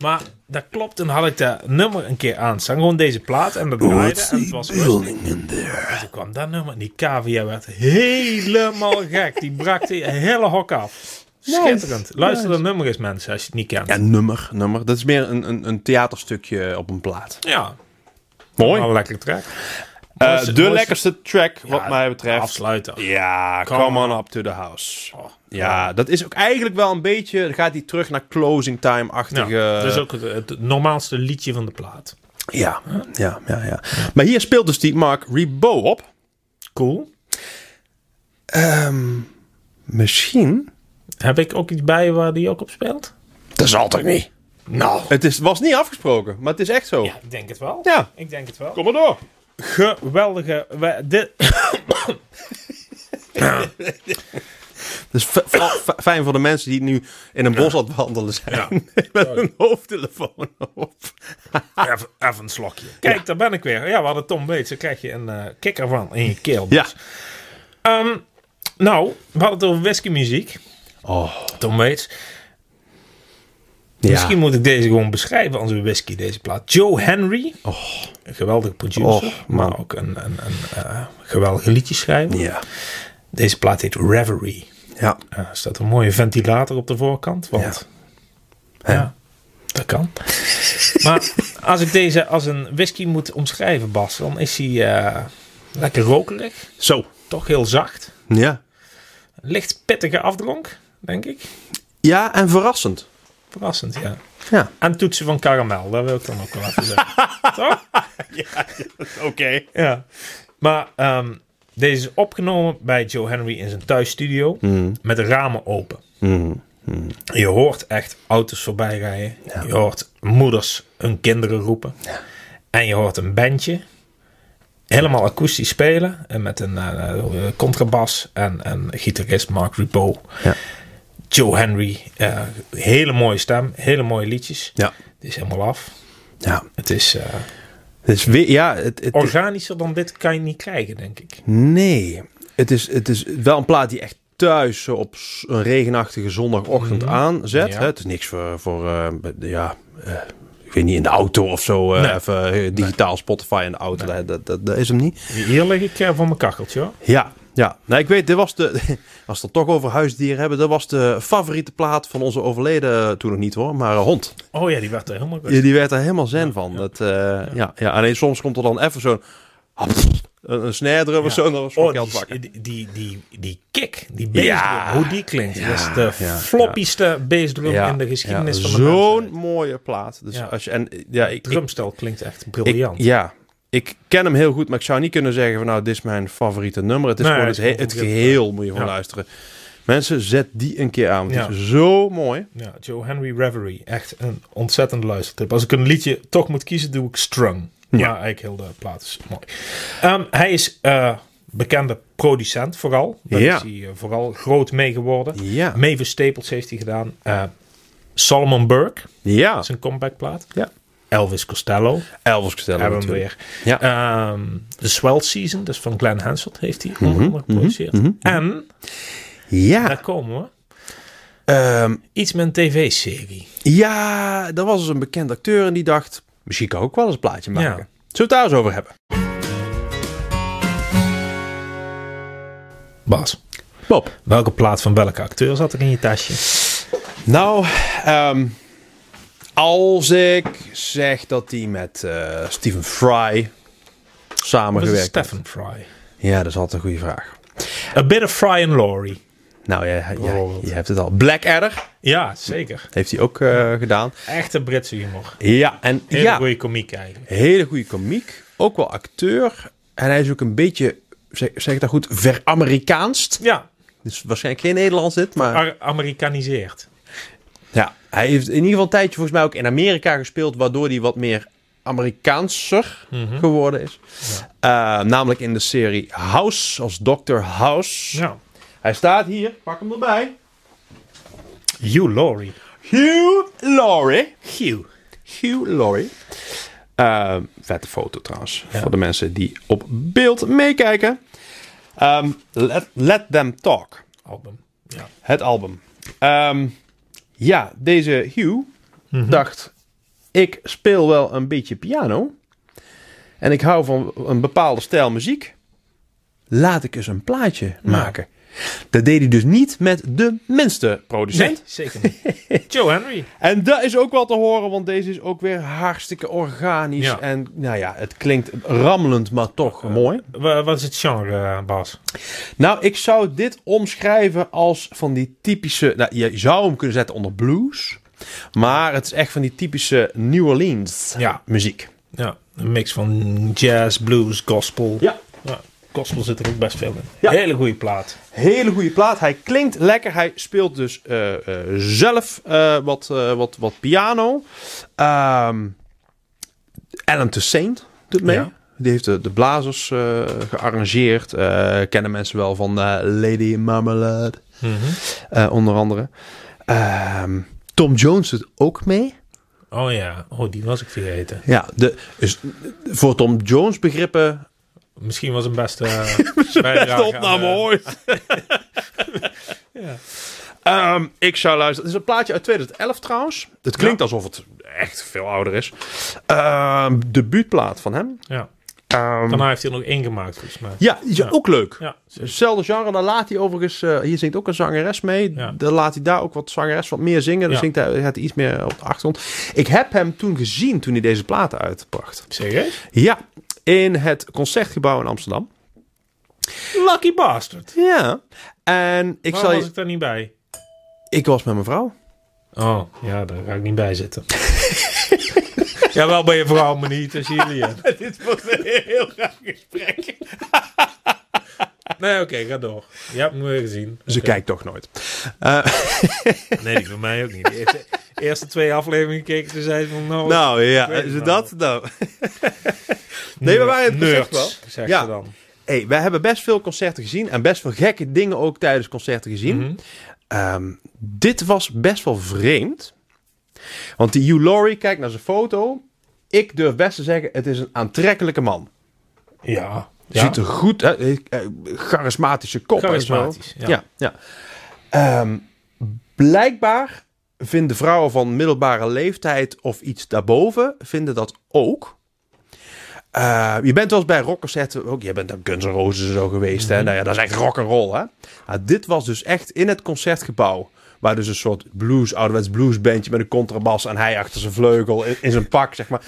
[SPEAKER 2] Maar dat klopt, toen had ik dat nummer een keer aanstaan. Gewoon deze plaat en
[SPEAKER 1] Oh,
[SPEAKER 2] dat draaide
[SPEAKER 3] What's
[SPEAKER 2] en het
[SPEAKER 3] he
[SPEAKER 2] was rustig.
[SPEAKER 3] building in there?
[SPEAKER 2] Toen kwam dat nummer en die cavia werd helemaal gek. Die brak die hele hok af. Schitterend. Luister dat nummer eens mensen, als je het niet kent.
[SPEAKER 1] Ja,
[SPEAKER 2] Ja.
[SPEAKER 1] nummer, nummer. Dat is meer een, een, een theaterstukje op een plaat.
[SPEAKER 2] Wel
[SPEAKER 1] Mooi.
[SPEAKER 2] een lekker track.
[SPEAKER 1] Eh,
[SPEAKER 2] Mooiste-
[SPEAKER 1] de
[SPEAKER 2] mooiste-
[SPEAKER 1] lekkerste track, wat
[SPEAKER 2] Ja,
[SPEAKER 1] mij betreft.
[SPEAKER 2] Afsluiter.
[SPEAKER 1] Ja, come, on up to the house.
[SPEAKER 2] Oh,
[SPEAKER 1] Ja, dat is ook eigenlijk wel een beetje. Dan gaat hij terug naar closing
[SPEAKER 2] Ja,
[SPEAKER 1] time-achtige. Ja, dus
[SPEAKER 2] dat is ook het, het normaalste liedje van de plaat.
[SPEAKER 1] ja, ja, ja, ja. Maar hier speelt dus die Mark Ribot op.
[SPEAKER 2] Cool.
[SPEAKER 1] Misschien.
[SPEAKER 2] Heb ik ook iets bij waar die ook op speelt?
[SPEAKER 1] Dat zal toch niet?
[SPEAKER 2] Nou.
[SPEAKER 1] Het is, was niet afgesproken, maar het is echt zo.
[SPEAKER 2] Ja, ik denk het wel.
[SPEAKER 1] Ja.
[SPEAKER 2] Ik denk het wel.
[SPEAKER 1] Kom maar door.
[SPEAKER 2] Geweldige... we- dit-
[SPEAKER 1] Dus f- vooral f- fijn voor de mensen die nu in een bos aan het wandelen zijn.
[SPEAKER 2] Ja.
[SPEAKER 1] Met een hoofdtelefoon op.
[SPEAKER 2] even, even een slokje. Kijk, daar ben ik weer. Ja, we hadden Tom Waits. Daar krijg je een eh, kikker van in je keel.
[SPEAKER 1] Ja.
[SPEAKER 2] Ehm, nou, we hadden het over whiskymuziek.
[SPEAKER 1] Oh.
[SPEAKER 2] Tom Waits. Misschien moet ik deze gewoon beschrijven als een whisky, deze plaat. Joe Henry. Een geweldige producer.
[SPEAKER 1] Oh. Och, man.
[SPEAKER 2] maar ook een, een, een eh, geweldige liedjeschrijver.
[SPEAKER 1] Ja.
[SPEAKER 2] Deze plaat heet Reverie.
[SPEAKER 1] Ja.
[SPEAKER 2] Ja, er staat een mooie ventilator op de voorkant. Want ja, dat kan. maar als ik deze als een whisky moet omschrijven, Bas, dan is hij eh, lekker rokerig.
[SPEAKER 1] Zo.
[SPEAKER 2] Toch heel zacht.
[SPEAKER 1] Ja.
[SPEAKER 2] Licht pittige afdronk, denk ik.
[SPEAKER 1] Ja, en verrassend.
[SPEAKER 2] Verrassend, ja.
[SPEAKER 1] Ja.
[SPEAKER 2] En toetsen van karamel, dat wil ik dan ook wel even zeggen. Toch?
[SPEAKER 1] Oké.
[SPEAKER 2] Ja. Maar ehm, deze is opgenomen bij Joe Henry in zijn thuisstudio. Met de ramen open. Je hoort echt auto's voorbij rijden. Je hoort moeders hun kinderen roepen. En je hoort een bandje. Helemaal akoestisch spelen. En met een eh, eh, contrabas en, en gitarist Mark Ribot.
[SPEAKER 1] Ja.
[SPEAKER 2] Joe Henry. eh, hele mooie stem. Hele mooie liedjes.
[SPEAKER 1] Ja.
[SPEAKER 2] Het is helemaal af.
[SPEAKER 1] Ja.
[SPEAKER 2] Het is eh,
[SPEAKER 1] Het is weer, ja, het, het,
[SPEAKER 2] organischer dan dit kan je niet krijgen, denk ik.
[SPEAKER 1] Nee, het is, het is wel een plaat die echt thuis zo op s- een regenachtige zondagochtend aanzet.
[SPEAKER 2] Mhm. Ja.
[SPEAKER 1] Hè? Het is niks voor, voor eh, ja, eh, ik weet niet, in de auto of zo. eh,
[SPEAKER 2] Nee.
[SPEAKER 1] Even eh, digitaal Spotify in de auto, dat, dat, dat, dat is hem niet.
[SPEAKER 2] Hier lig ik eh, voor mijn kacheltje hoor.
[SPEAKER 1] Ja, Ja, nou, ik weet, dit was de. Als we het toch over huisdieren hebben, dat was de favoriete plaat van onze overleden, eh, toen nog niet hoor, maar eh, hond.
[SPEAKER 2] Oh ja, die werd er helemaal
[SPEAKER 1] Ja, die werd er helemaal zen van. Dat, eh, ja. Ja, alleen soms komt er dan even zo'n. Een, een snare drum of
[SPEAKER 2] Ja.
[SPEAKER 1] zo, en dan was
[SPEAKER 2] Oh,
[SPEAKER 1] ik aan het pakken.
[SPEAKER 2] die, die, die, die, die kick, die bassdrum,
[SPEAKER 1] Ja.
[SPEAKER 2] hoe die klinkt. dat is de
[SPEAKER 1] ja, ja.
[SPEAKER 2] floppieste bassdrum
[SPEAKER 1] Ja,
[SPEAKER 2] in de geschiedenis
[SPEAKER 1] ja,
[SPEAKER 2] van de
[SPEAKER 1] Zo'n
[SPEAKER 2] mensheid.
[SPEAKER 1] mooie plaat. Dus
[SPEAKER 2] Ja.
[SPEAKER 1] als je, en eh, ja, ik, ik,
[SPEAKER 2] drumstel klinkt echt
[SPEAKER 1] ik-
[SPEAKER 2] briljant.
[SPEAKER 1] ja, ik ken hem heel goed, maar ik zou niet kunnen zeggen van nou, dit is mijn favoriete nummer. Het is
[SPEAKER 2] Nee,
[SPEAKER 1] gewoon
[SPEAKER 2] het
[SPEAKER 1] het,
[SPEAKER 2] is
[SPEAKER 1] he-
[SPEAKER 2] gewoon
[SPEAKER 1] het
[SPEAKER 2] goed.
[SPEAKER 1] geheel moet je gewoon
[SPEAKER 2] Ja.
[SPEAKER 1] luisteren. Mensen, zet die een keer aan. Want
[SPEAKER 2] Ja.
[SPEAKER 1] Het is zo mooi.
[SPEAKER 2] Ja, Joe Henry Reverie. Echt een ontzettend luistertip. Als ik een liedje toch moet kiezen, doe ik Strung. Ja, eigenlijk heel de plaat is mooi. Ehm, hij is eh, bekende producent vooral. Daar
[SPEAKER 1] Ja.
[SPEAKER 2] is hij eh, vooral groot mee geworden.
[SPEAKER 1] Ja.
[SPEAKER 2] Mavis Staples heeft hij gedaan. Eh, Solomon Burke,
[SPEAKER 1] Ja.
[SPEAKER 2] zijn comebackplaat.
[SPEAKER 1] Ja.
[SPEAKER 2] Elvis Costello,
[SPEAKER 1] Elvis Costello
[SPEAKER 2] hebben we hem
[SPEAKER 1] natuurlijk.
[SPEAKER 2] weer.
[SPEAKER 1] Ja.
[SPEAKER 2] Ehm, The Swell Season, dus van Glenn Hansard, heeft
[SPEAKER 1] Mhm,
[SPEAKER 2] hij onder andere geproduceerd. En,
[SPEAKER 1] Ja.
[SPEAKER 2] daar komen we,
[SPEAKER 1] Ehm,
[SPEAKER 2] iets met een tv-serie.
[SPEAKER 1] ja, er was dus een bekend acteur en die dacht... Misschien kan ik ook wel eens een plaatje maken.
[SPEAKER 2] Ja.
[SPEAKER 1] Zullen we het daar eens over hebben?
[SPEAKER 2] Bas.
[SPEAKER 1] Bob.
[SPEAKER 2] Welke plaat van welke acteur zat er in je tasje?
[SPEAKER 1] Nou, ehm, als ik zeg dat die met eh, Stephen Fry
[SPEAKER 2] Was het
[SPEAKER 1] samengewerkt heeft.
[SPEAKER 2] Stephen Fry?
[SPEAKER 1] Ja, dat is altijd een goede vraag.
[SPEAKER 2] A Bit of Fry and Laurie.
[SPEAKER 1] Nou, ja, ja,
[SPEAKER 2] Bijvoorbeeld.
[SPEAKER 1] je hebt het al. Blackadder
[SPEAKER 2] Ja, zeker.
[SPEAKER 1] heeft hij ook eh, gedaan.
[SPEAKER 2] Echte Britse humor.
[SPEAKER 1] Ja, en
[SPEAKER 2] Hele
[SPEAKER 1] ja,
[SPEAKER 2] goede komiek eigenlijk.
[SPEAKER 1] hele goede komiek. Ook wel acteur. En hij is ook een beetje, zeg, zeg ik dat goed, ver-Amerikaanst.
[SPEAKER 2] Ja,
[SPEAKER 1] Dus waarschijnlijk geen Nederlands dit, maar...
[SPEAKER 2] Ar- Amerikaniseerd.
[SPEAKER 1] Ja, hij heeft in ieder geval een tijdje volgens mij ook in Amerika gespeeld... waardoor hij wat meer Amerikaanser
[SPEAKER 2] Mhm.
[SPEAKER 1] geworden is. Eh, namelijk in de serie House, als Dr. House.
[SPEAKER 2] Ja.
[SPEAKER 1] Hij staat hier, pak hem erbij.
[SPEAKER 2] Hugh Laurie.
[SPEAKER 1] Hugh Laurie.
[SPEAKER 2] Hugh.
[SPEAKER 1] Hugh Laurie. Ehm, vette foto trouwens. Voor de mensen die op beeld meekijken. Ehm, let, Let Them Talk.
[SPEAKER 2] Album. Ja.
[SPEAKER 1] Het album. Ehm, ja, deze Hugh dacht... Ik speel wel een beetje piano. En ik hou van een bepaalde stijl muziek. Laat ik eens een plaatje maken. Dat deed hij dus niet met de minste producent.
[SPEAKER 2] Nee, zeker niet. Joe Henry.
[SPEAKER 1] En dat is ook wel te horen, want deze is ook weer hartstikke organisch.
[SPEAKER 2] Ja.
[SPEAKER 1] En nou ja, het klinkt rammelend, maar toch mooi.
[SPEAKER 2] Wa- Wat is het genre, eh, Bas?
[SPEAKER 1] Nou, ik zou dit omschrijven als van die typische... Nou, je zou hem kunnen zetten onder blues. Maar het is echt van die typische New Orleans
[SPEAKER 2] Ja.
[SPEAKER 1] muziek.
[SPEAKER 2] Ja, een mix van jazz, blues, gospel.
[SPEAKER 1] Ja.
[SPEAKER 2] Ja, Gospel zit er ook best veel in.
[SPEAKER 1] Ja.
[SPEAKER 2] Hele goede plaat.
[SPEAKER 1] Hele goede plaat. Hij klinkt lekker. Hij speelt dus eh, eh, zelf eh, wat, eh, wat, wat piano. Ehm Alan Toussaint doet mee.
[SPEAKER 2] Ja.
[SPEAKER 1] Die heeft de, de blazers eh, gearrangeerd. Eh, kennen mensen wel van eh, Lady Marmalade, eh, onder andere. Ehm, Tom Jones doet ook mee.
[SPEAKER 2] Oh ja, oh, die was ik vergeten.
[SPEAKER 1] Ja, de, dus voor Tom Jones begrippen...
[SPEAKER 2] Misschien was een beste, eh, bijdrage
[SPEAKER 1] nou
[SPEAKER 2] aan de-
[SPEAKER 1] ooit. Ehm, ik zou luisteren. Het is een plaatje uit 2011 trouwens. Het klinkt alsof het echt veel ouder is. Ehm debuutplaat van hem.
[SPEAKER 2] Ja.
[SPEAKER 1] Ehm,
[SPEAKER 2] Daarna heeft hij er nog één gemaakt, volgens mij.
[SPEAKER 1] ja, is ook leuk.
[SPEAKER 2] Ja,
[SPEAKER 1] Hetzelfde genre. Dan laat hij overigens... eh, hier zingt ook een zangeres mee.
[SPEAKER 2] Ja.
[SPEAKER 1] Dan laat hij daar ook wat zangeres wat meer zingen. Dan
[SPEAKER 2] Ja.
[SPEAKER 1] zingt hij, gaat hij iets meer op de achtergrond. Ik heb hem toen gezien toen hij deze platen uitbracht.
[SPEAKER 2] serieus?
[SPEAKER 1] Ja, in het Concertgebouw in Amsterdam.
[SPEAKER 2] Lucky bastard.
[SPEAKER 1] Ja. En ik
[SPEAKER 2] Ik
[SPEAKER 1] zal je...
[SPEAKER 2] was ik daar niet bij?
[SPEAKER 1] Ik was met mijn vrouw.
[SPEAKER 2] Oh, ja, daar ga ik niet bij zitten. ja, wel bij je vrouw, maar niet als jullie.
[SPEAKER 1] Dit was een heel raar gesprek.
[SPEAKER 2] Nee, oké, ga door. Je hebt me weer gezien.
[SPEAKER 1] Ze kijkt toch nooit. Eh,
[SPEAKER 2] Nee, die van mij ook niet. Die heeft De eerste twee afleveringen gekeken, ze zei ze van... Nou,
[SPEAKER 1] nou ja,
[SPEAKER 2] weet
[SPEAKER 1] is het
[SPEAKER 2] het
[SPEAKER 1] dat? Nou. nee, maar wij hebben het
[SPEAKER 2] nerds,
[SPEAKER 1] gezegd wel.
[SPEAKER 2] zegt
[SPEAKER 1] Ja.
[SPEAKER 2] ze dan.
[SPEAKER 1] Hey, wij hebben best veel concerten gezien. En best veel gekke dingen ook tijdens concerten gezien.
[SPEAKER 2] Mhm.
[SPEAKER 1] Ehm, dit was best wel vreemd. Want die Hugh Laurie kijkt naar zijn foto. Ik durf best te zeggen, het is een aantrekkelijke man.
[SPEAKER 2] Ja.
[SPEAKER 1] Ziet er goed uit. eh, eh, Charismatische kop. en zo.
[SPEAKER 2] Charismatisch, ja.
[SPEAKER 1] ja. ja. Ehm, blijkbaar vinden vrouwen van middelbare leeftijd of iets daarboven vinden dat ook. Eh, je bent wel eens bij rockconcerten, ook je bent aan Guns N' Roses en zo geweest.
[SPEAKER 2] Mhm.
[SPEAKER 1] Hè? Nou ja, dat is echt rock and roll, hè? Nou, dit was dus echt in het concertgebouw, waar dus een soort blues, ouderwets bluesbandje met een contrabas en hij achter zijn vleugel in, in zijn pak, zeg maar.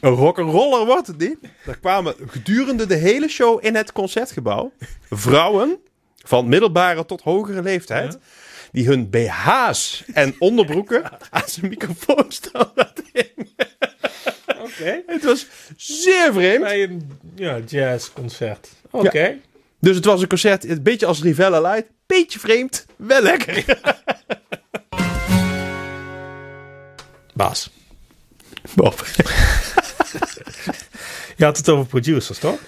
[SPEAKER 1] Een rock and roller wordt het niet. Er kwamen gedurende de hele show in het concertgebouw vrouwen van middelbare tot hogere leeftijd. Die hun BH's en onderbroeken aan zijn microfoon stonden.
[SPEAKER 2] Oké.
[SPEAKER 1] Het was zeer vreemd.
[SPEAKER 2] Bij een ja, jazzconcert. Oké.
[SPEAKER 1] Dus het was een concert, een beetje als Rivella Light. Beetje vreemd, wel lekker.
[SPEAKER 2] Baas.
[SPEAKER 1] Bob.
[SPEAKER 2] Je had het over producers, toch?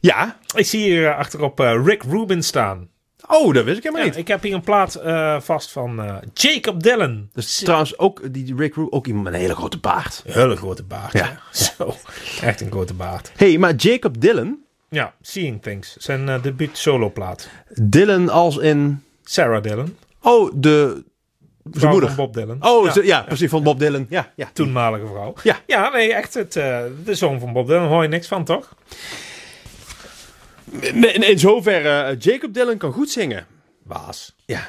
[SPEAKER 1] Ja.
[SPEAKER 2] Ik zie hier eh, achterop eh, Rick Rubin staan.
[SPEAKER 1] Oh, dat wist ik helemaal
[SPEAKER 2] Ja,
[SPEAKER 1] niet.
[SPEAKER 2] ik heb hier een plaat eh, vast van eh, Jacob Dylan.
[SPEAKER 1] Dus trouwens ook die Rick Rubin, ook iemand met een hele grote baard.
[SPEAKER 2] Hele grote baard.
[SPEAKER 1] Ja.
[SPEAKER 2] Ja. Zo. Echt een grote baard.
[SPEAKER 1] hey, maar Jacob Dylan.
[SPEAKER 2] Ja, Seeing Things. Zijn eh, debuut soloplaat.
[SPEAKER 1] Dylan als in...
[SPEAKER 2] Sarah Dylan.
[SPEAKER 1] Oh, de... Zijn
[SPEAKER 2] vrouw
[SPEAKER 1] moeder.
[SPEAKER 2] van Bob Dylan.
[SPEAKER 1] Oh,
[SPEAKER 2] ja.
[SPEAKER 1] ze- ja, precies, van Bob Dylan. Ja, ja.
[SPEAKER 2] Toenmalige vrouw.
[SPEAKER 1] Ja.
[SPEAKER 2] Ja, nee, echt het, eh, de zoon van Bob Dylan. Hoor je niks van, toch?
[SPEAKER 1] In, in, in zoverre, eh, Jacob Dylan kan goed zingen.
[SPEAKER 2] Baas.
[SPEAKER 1] Ja.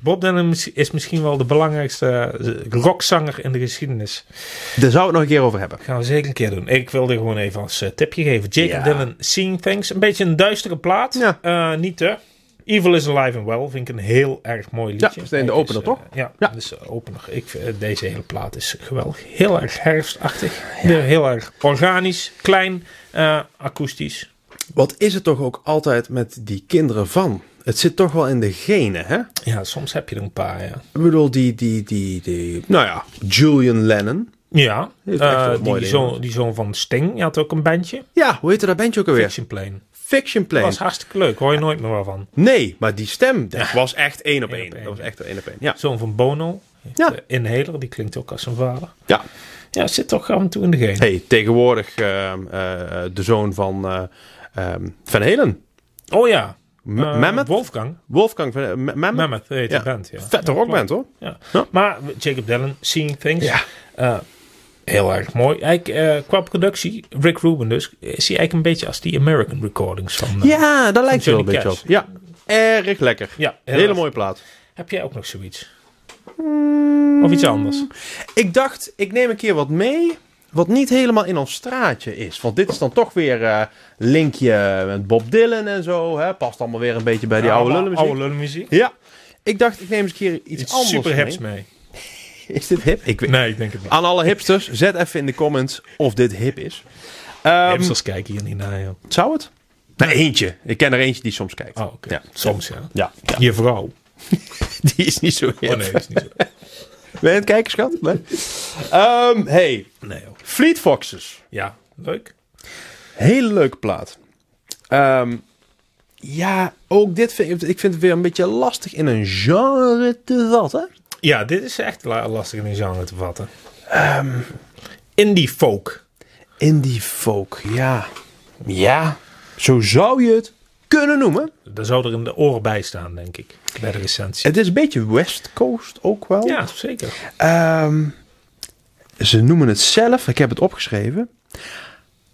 [SPEAKER 2] Bob Dylan mis- is misschien wel de belangrijkste eh, rockzanger in de geschiedenis.
[SPEAKER 1] Daar zou het nog een keer over hebben.
[SPEAKER 2] Gaan we zeker een keer doen. Ik wilde gewoon even als eh, tipje geven. Jacob
[SPEAKER 1] Ja.
[SPEAKER 2] Dylan, Seeing Things. Een beetje een duistere plaat.
[SPEAKER 1] Ja.
[SPEAKER 2] Eh, niet te. Evil is Alive and Well vind ik een heel erg mooi liedje.
[SPEAKER 1] Ja, is in de
[SPEAKER 2] Kijk eens,
[SPEAKER 1] opener,
[SPEAKER 2] eh,
[SPEAKER 1] toch?
[SPEAKER 2] ja,
[SPEAKER 1] Ja.
[SPEAKER 2] dus de opener. Ik, vind- deze hele plaat is geweldig. Heel erg herfstachtig. Weer heel erg organisch, klein, eh, akoestisch.
[SPEAKER 1] Wat is het toch ook altijd met die kinderen van? Het zit toch wel in de genen, hè?
[SPEAKER 2] Ja, soms heb je er een paar, ja.
[SPEAKER 1] Ik bedoel, die, die, die, die... Nou ja, Julian Lennon.
[SPEAKER 2] Ja,
[SPEAKER 1] Heeft echt wel
[SPEAKER 2] eh,
[SPEAKER 1] mooie
[SPEAKER 2] die,
[SPEAKER 1] dingen.
[SPEAKER 2] zoon, die zoon van Sting, die had ook een bandje.
[SPEAKER 1] Ja, hoe heette dat bandje ook alweer?
[SPEAKER 2] Fiction Plane.
[SPEAKER 1] Fiction Plane.
[SPEAKER 2] was hartstikke leuk, hoor je nooit meer wel van.
[SPEAKER 1] Nee, maar die stem, dat was echt één op
[SPEAKER 2] Eén
[SPEAKER 1] één.
[SPEAKER 2] op één,
[SPEAKER 1] Dat was
[SPEAKER 2] ja.
[SPEAKER 1] echt één op één. Ja.
[SPEAKER 2] Zoon van Bono,
[SPEAKER 1] Ja.
[SPEAKER 2] de inhaler, die klinkt ook als zijn vader.
[SPEAKER 1] ja.
[SPEAKER 2] Ja, zit toch af en toe in de gene.
[SPEAKER 1] Hey, tegenwoordig ehm, eh, eh, de zoon van eh, ehm, Van Helen.
[SPEAKER 2] Oh ja.
[SPEAKER 1] M-
[SPEAKER 2] Eh,
[SPEAKER 1] Mammoth?
[SPEAKER 2] Wolfgang.
[SPEAKER 1] Wolfgang van eh, M- Mammoth.
[SPEAKER 2] Mammoth heet
[SPEAKER 1] Ja.
[SPEAKER 2] de band, ja.
[SPEAKER 1] Vette rockband, hoor.
[SPEAKER 2] Ja.
[SPEAKER 1] Ja.
[SPEAKER 2] Maar Jacob Dylan, Seeing Things.
[SPEAKER 1] Ja.
[SPEAKER 2] eh, heel erg mooi. Eigenlijk, eh, qua productie, Rick Rubin dus, zie je eigenlijk een beetje als die American recordings van... eh,
[SPEAKER 1] Ja, daar lijkt het wel een
[SPEAKER 2] Johnny
[SPEAKER 1] beetje op.
[SPEAKER 2] Cash.
[SPEAKER 1] Ja, erg lekker.
[SPEAKER 2] ja, heel
[SPEAKER 1] Hele
[SPEAKER 2] erg.
[SPEAKER 1] mooie plaat.
[SPEAKER 2] Heb jij ook nog zoiets? Of iets anders?
[SPEAKER 1] Ik dacht, ik neem een keer wat mee wat niet helemaal in ons straatje is. Want dit is dan toch weer eh linkje met Bob Dylan en zo. Hè? Past allemaal weer een beetje bij die oude
[SPEAKER 2] Allemaal
[SPEAKER 1] lullenmuziek.
[SPEAKER 2] Oude lullenmuziek.
[SPEAKER 1] Ja, ik dacht, ik neem eens een keer iets,
[SPEAKER 2] Iets
[SPEAKER 1] anders
[SPEAKER 2] super
[SPEAKER 1] mee.
[SPEAKER 2] hips mee.
[SPEAKER 1] Is dit hip? Ik weet...
[SPEAKER 2] Nee, ik denk het niet.
[SPEAKER 1] Aan alle hipsters, zet even in de comments of dit hip is. Ehm,
[SPEAKER 2] Hipsters kijken hier niet naar, joh.
[SPEAKER 1] Zou het? Nou, eentje. Ik ken er eentje die soms kijkt.
[SPEAKER 2] Oh, oké.
[SPEAKER 1] Ja.
[SPEAKER 2] Soms, ja.
[SPEAKER 1] Ja, ja.
[SPEAKER 2] Je vrouw. Oh
[SPEAKER 1] die is niet zo hip.
[SPEAKER 2] nee, dat is niet zo.
[SPEAKER 1] Ben je aan het kijken, schat? Nee. Ehm, hey,
[SPEAKER 2] Nee, joh.
[SPEAKER 1] Fleet Foxes.
[SPEAKER 2] Ja, leuk.
[SPEAKER 1] Hele leuke plaat. Ehm, ja, ook dit vind ik, ik vind het weer een beetje lastig in een genre te vatten.
[SPEAKER 2] Ja, dit is echt la- lastig in een genre te vatten. Ehm, indie folk.
[SPEAKER 1] Indie folk, ja. Ja, zo zou je het kunnen noemen.
[SPEAKER 2] Daar zou er in de oren bij staan, denk ik. Bij de recensie.
[SPEAKER 1] Het is een beetje West Coast ook wel.
[SPEAKER 2] Ja, zeker.
[SPEAKER 1] Ehm, ze noemen het zelf, ik heb het opgeschreven,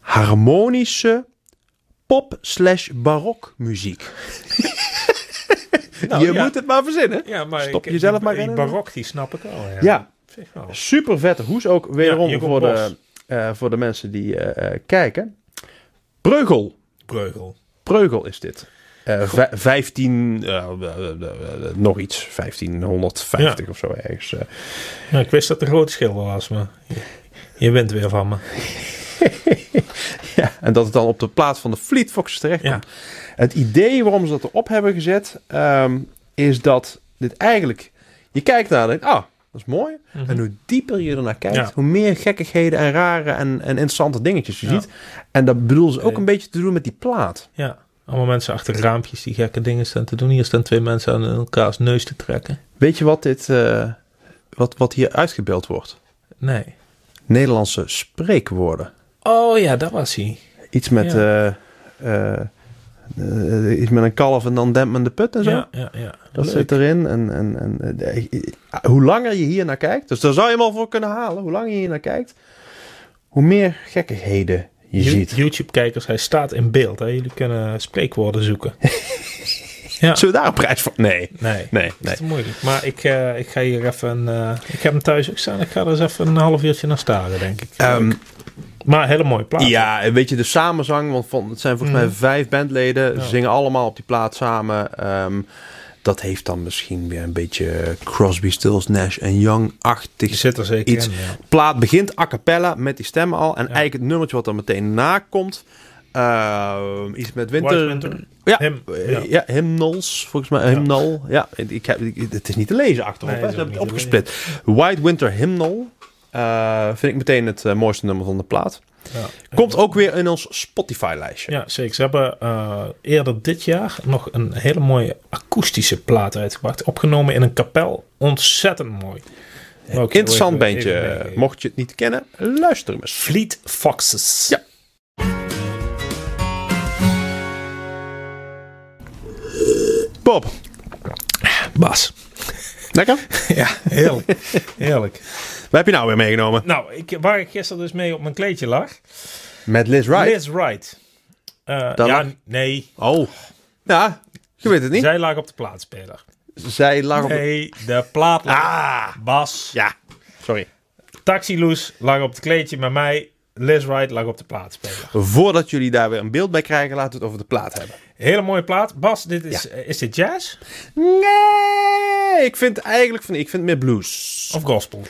[SPEAKER 1] harmonische pop slash barok muziek.
[SPEAKER 2] Nou,
[SPEAKER 1] je
[SPEAKER 2] ja.
[SPEAKER 1] moet het maar verzinnen.
[SPEAKER 2] Ja, maar
[SPEAKER 1] Stop
[SPEAKER 2] ik-
[SPEAKER 1] jezelf
[SPEAKER 2] die-
[SPEAKER 1] maar in.
[SPEAKER 2] Die barok, die snap ik al. Ja.
[SPEAKER 1] Ja,
[SPEAKER 2] Zeg wel.
[SPEAKER 1] super vette hoes ook wederom
[SPEAKER 2] Jeroen
[SPEAKER 1] voor, de,
[SPEAKER 2] Bos.
[SPEAKER 1] eh, voor de mensen die eh, eh, kijken. Breugel,
[SPEAKER 2] Breugel.
[SPEAKER 1] Breugel is dit. Eh, vij- 15, eh, eh, eh, eh, eh, nog iets, 1550 of zo ergens. eh.
[SPEAKER 2] Ja, ik wist dat er groot schil was, maar je, je bent weer van me.
[SPEAKER 1] Ja, en dat het dan op de plaats van de Fleet Foxes terecht
[SPEAKER 2] Ja.
[SPEAKER 1] Het idee waarom ze dat erop hebben gezet, ehm, is dat dit eigenlijk. Je kijkt naar en denkt, ah, dat is mooi.
[SPEAKER 2] Mhm.
[SPEAKER 1] En hoe dieper je ernaar kijkt,
[SPEAKER 2] Ja.
[SPEAKER 1] hoe meer gekkigheden en rare en, en interessante dingetjes je
[SPEAKER 2] Ja.
[SPEAKER 1] ziet. En dat bedoelen ze ook
[SPEAKER 2] Eh.
[SPEAKER 1] een beetje te doen met die plaat.
[SPEAKER 2] Ja. Allemaal mensen achter raampjes die gekke dingen staan te doen. Hier staan twee mensen aan elkaars neus te trekken.
[SPEAKER 1] Weet je wat, dit, eh, wat, wat hier uitgebeeld wordt?
[SPEAKER 2] Nee.
[SPEAKER 1] Nederlandse spreekwoorden.
[SPEAKER 2] Oh ja, dat was hij.
[SPEAKER 1] Iets met, eh, eh, eh, iets met een kalf en dan dempt men de put en zo.
[SPEAKER 2] Ja, ja, ja.
[SPEAKER 1] Dat
[SPEAKER 2] Leuk.
[SPEAKER 1] zit erin. En, en, en, eh, de- eh, eh, hoe langer je hier naar kijkt, dus daar zou je hem al voor kunnen halen. Hoe langer je hier naar kijkt, hoe meer gekkigheden Je
[SPEAKER 2] You-
[SPEAKER 1] ziet.
[SPEAKER 2] YouTube-kijkers, hij staat in beeld. Hè? Jullie kunnen spreekwoorden zoeken. ja,
[SPEAKER 1] Zullen we daar een prijs voor? Nee.
[SPEAKER 2] nee.
[SPEAKER 1] Nee,
[SPEAKER 2] Dat
[SPEAKER 1] nee.
[SPEAKER 2] is moeilijk. Maar ik, eh, ik ga hier even. een, eh, ik heb hem thuis ook staan. Ik ga er eens even een half uurtje naar staren, denk ik.
[SPEAKER 1] Ehm,
[SPEAKER 2] maar een hele mooie plaat.
[SPEAKER 1] ja, en weet je, de samenzang, want van, het zijn volgens mij
[SPEAKER 2] Mhm.
[SPEAKER 1] vijf bandleden,
[SPEAKER 2] Ja.
[SPEAKER 1] zingen allemaal op die plaat samen. Ehm, dat heeft dan misschien weer een beetje Crosby, Stills, Nash en Young-achtig
[SPEAKER 2] Die zit er zeker
[SPEAKER 1] Iets-
[SPEAKER 2] in. Ja.
[SPEAKER 1] plaat begint a cappella met die stemmen al. En
[SPEAKER 2] Ja.
[SPEAKER 1] eigenlijk het nummertje wat er meteen na komt. ehm, iets met winter.
[SPEAKER 2] White Winter?
[SPEAKER 1] Ja.
[SPEAKER 2] Hem,
[SPEAKER 1] Eh,
[SPEAKER 2] ja.
[SPEAKER 1] ja. hymnals, volgens mij. Hymnal. Ja, ik heb, ik- het is niet te lezen achterop.
[SPEAKER 2] Nee,
[SPEAKER 1] hè.
[SPEAKER 2] is
[SPEAKER 1] Ze
[SPEAKER 2] ook
[SPEAKER 1] hebben het
[SPEAKER 2] niet te
[SPEAKER 1] opgesplit. White Winter Hymnal. eh, vind ik meteen het eh, mooiste nummer van de plaat.
[SPEAKER 2] Ja.
[SPEAKER 1] Komt ook weer in ons Spotify-lijstje.
[SPEAKER 2] Ja, zeker. Ze hebben eh, eerder dit jaar nog een hele mooie akoestische plaat uitgebracht. Opgenomen in een kapel. Ontzettend mooi. Wou ik-
[SPEAKER 1] Interessant
[SPEAKER 2] wou ik even
[SPEAKER 1] bandje. eh,
[SPEAKER 2] meegeven.
[SPEAKER 1] Mocht je het niet kennen, luister hem eens.
[SPEAKER 2] Fleet Foxes.
[SPEAKER 1] Ja. Bob,
[SPEAKER 2] Bas.
[SPEAKER 1] lekker.
[SPEAKER 2] Ja, heerlijk. heerlijk.
[SPEAKER 1] Wat heb je nou weer meegenomen?
[SPEAKER 2] Nou, ik, waar ik gisteren dus mee op mijn kleedje lag.
[SPEAKER 1] Met Liz Wright.
[SPEAKER 2] Liz Wright. Eh,
[SPEAKER 1] Daar
[SPEAKER 2] ja,
[SPEAKER 1] lag-
[SPEAKER 2] nee.
[SPEAKER 1] Oh. Ja, je weet het niet. Zij,
[SPEAKER 2] Zij lag op de plaatspeler.
[SPEAKER 1] lag op... de-
[SPEAKER 2] Nee, de plaat lag.
[SPEAKER 1] Ah,
[SPEAKER 2] Bas.
[SPEAKER 1] ja. Sorry.
[SPEAKER 2] Taxi Loes lag op het kleedje met mij. Liz Wright lag op de plaatspeler.
[SPEAKER 1] Voordat jullie daar weer een beeld bij krijgen, laten we het over de plaat hebben.
[SPEAKER 2] Hele mooie plaat. Bas, dit is, eh, is dit jazz
[SPEAKER 1] Nee, ik vind eigenlijk van... Ik vind meer blues.
[SPEAKER 2] of gospel?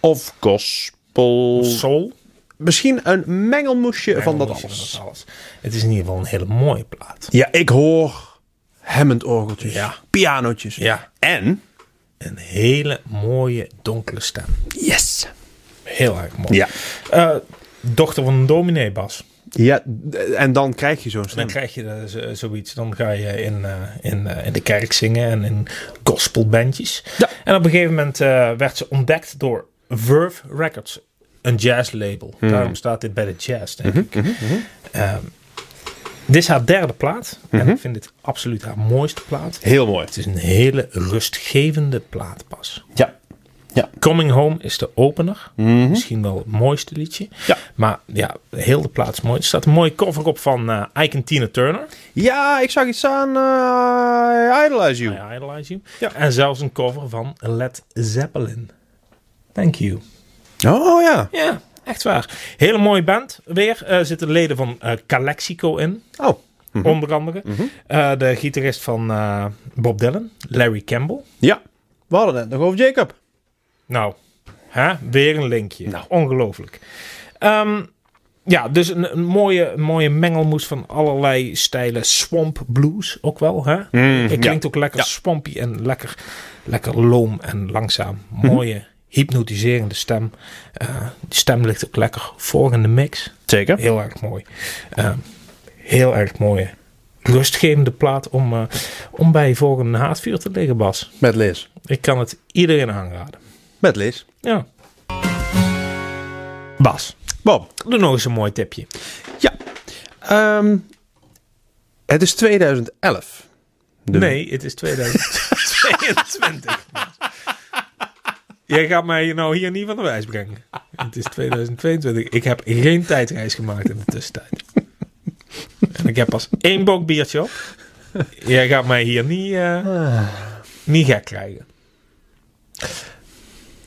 [SPEAKER 1] Of gospel.
[SPEAKER 2] Soul?
[SPEAKER 1] Misschien een mengelmoesje van dat
[SPEAKER 2] Engels,
[SPEAKER 1] alles.
[SPEAKER 2] van dat alles. Het is in ieder geval een hele mooie plaat.
[SPEAKER 1] Ja, ik hoor Hammond-orgeltjes.
[SPEAKER 2] Ja.
[SPEAKER 1] Pianootjes.
[SPEAKER 2] Ja.
[SPEAKER 1] En...
[SPEAKER 2] Een hele mooie donkere stem.
[SPEAKER 1] Yes.
[SPEAKER 2] Heel erg mooi.
[SPEAKER 1] Ja.
[SPEAKER 2] Eh, dochter van een dominee, Bas.
[SPEAKER 1] Ja, d- en dan krijg je zo'n
[SPEAKER 2] Dan
[SPEAKER 1] stem.
[SPEAKER 2] krijg je eh, zo- zoiets. Dan ga je in, eh, in, eh, in de kerk zingen en in gospelbandjes.
[SPEAKER 1] Ja.
[SPEAKER 2] En op een gegeven moment eh, werd ze ontdekt door Verve Records. Een jazzlabel.
[SPEAKER 1] Hm.
[SPEAKER 2] Daarom staat dit bij de jazz, denk
[SPEAKER 1] Mhm,
[SPEAKER 2] ik. Ehm, dit is haar derde plaat.
[SPEAKER 1] Mhm.
[SPEAKER 2] En ik vind dit absoluut haar mooiste plaat.
[SPEAKER 1] Heel mooi.
[SPEAKER 2] Het is een hele rustgevende plaat pas.
[SPEAKER 1] Ja.
[SPEAKER 2] Coming Home is de opener. Misschien wel het mooiste liedje.
[SPEAKER 1] Mhm. Ja.
[SPEAKER 2] Maar ja, heel de plaat is mooi. Er staat een mooie cover op van eh Ike en Tina Turner.
[SPEAKER 1] Ja, ik zag iets aan eh, I Idolize You.
[SPEAKER 2] I Idolize You.
[SPEAKER 1] Ja.
[SPEAKER 2] En zelfs een cover van Led Zeppelin. Thank you.
[SPEAKER 1] Oh ja.
[SPEAKER 2] Ja, echt waar. Hele mooie band. Weer Eh, zitten leden van eh, Calexico in.
[SPEAKER 1] Oh.
[SPEAKER 2] Onder andere. Eh, de gitarist van eh, Bob Dylan. Larry Campbell.
[SPEAKER 1] Ja. We hadden het nog over Jacob.
[SPEAKER 2] Nou, hè? weer een linkje.
[SPEAKER 1] Nou.
[SPEAKER 2] Ongelooflijk. Ehm, ja, dus een, een mooie, een mooie mengelmoes van allerlei stijlen. Swamp blues ook wel. Hè? Het klinkt ook lekker
[SPEAKER 1] Mm, Ja.
[SPEAKER 2] swampy en lekker, lekker loom en langzaam.
[SPEAKER 1] Mhm.
[SPEAKER 2] Mooie, hypnotiserende stem. Eh die stem ligt ook lekker voor in de mix.
[SPEAKER 1] Zeker.
[SPEAKER 2] Heel erg mooi. Ehm, heel erg mooie. Rustgevende plaat om, eh, om bij voor een haatvuur te liggen, Bas.
[SPEAKER 1] Met Liz.
[SPEAKER 2] Ik kan het iedereen aanraden.
[SPEAKER 1] Met Liz.
[SPEAKER 2] Ja. Bas,
[SPEAKER 1] Bob.
[SPEAKER 2] doe nog eens een mooi tipje.
[SPEAKER 1] Ja. Ehm, het is 2011. De-
[SPEAKER 2] Nee, het is 2022. Jij gaat mij nou hier niet van de wijs brengen. Het is 2022. Ik heb geen tijdreis gemaakt in de tussentijd. En ik heb pas één bok biertje op. Jij gaat mij hier niet, eh,
[SPEAKER 1] Ah.
[SPEAKER 2] niet gek krijgen.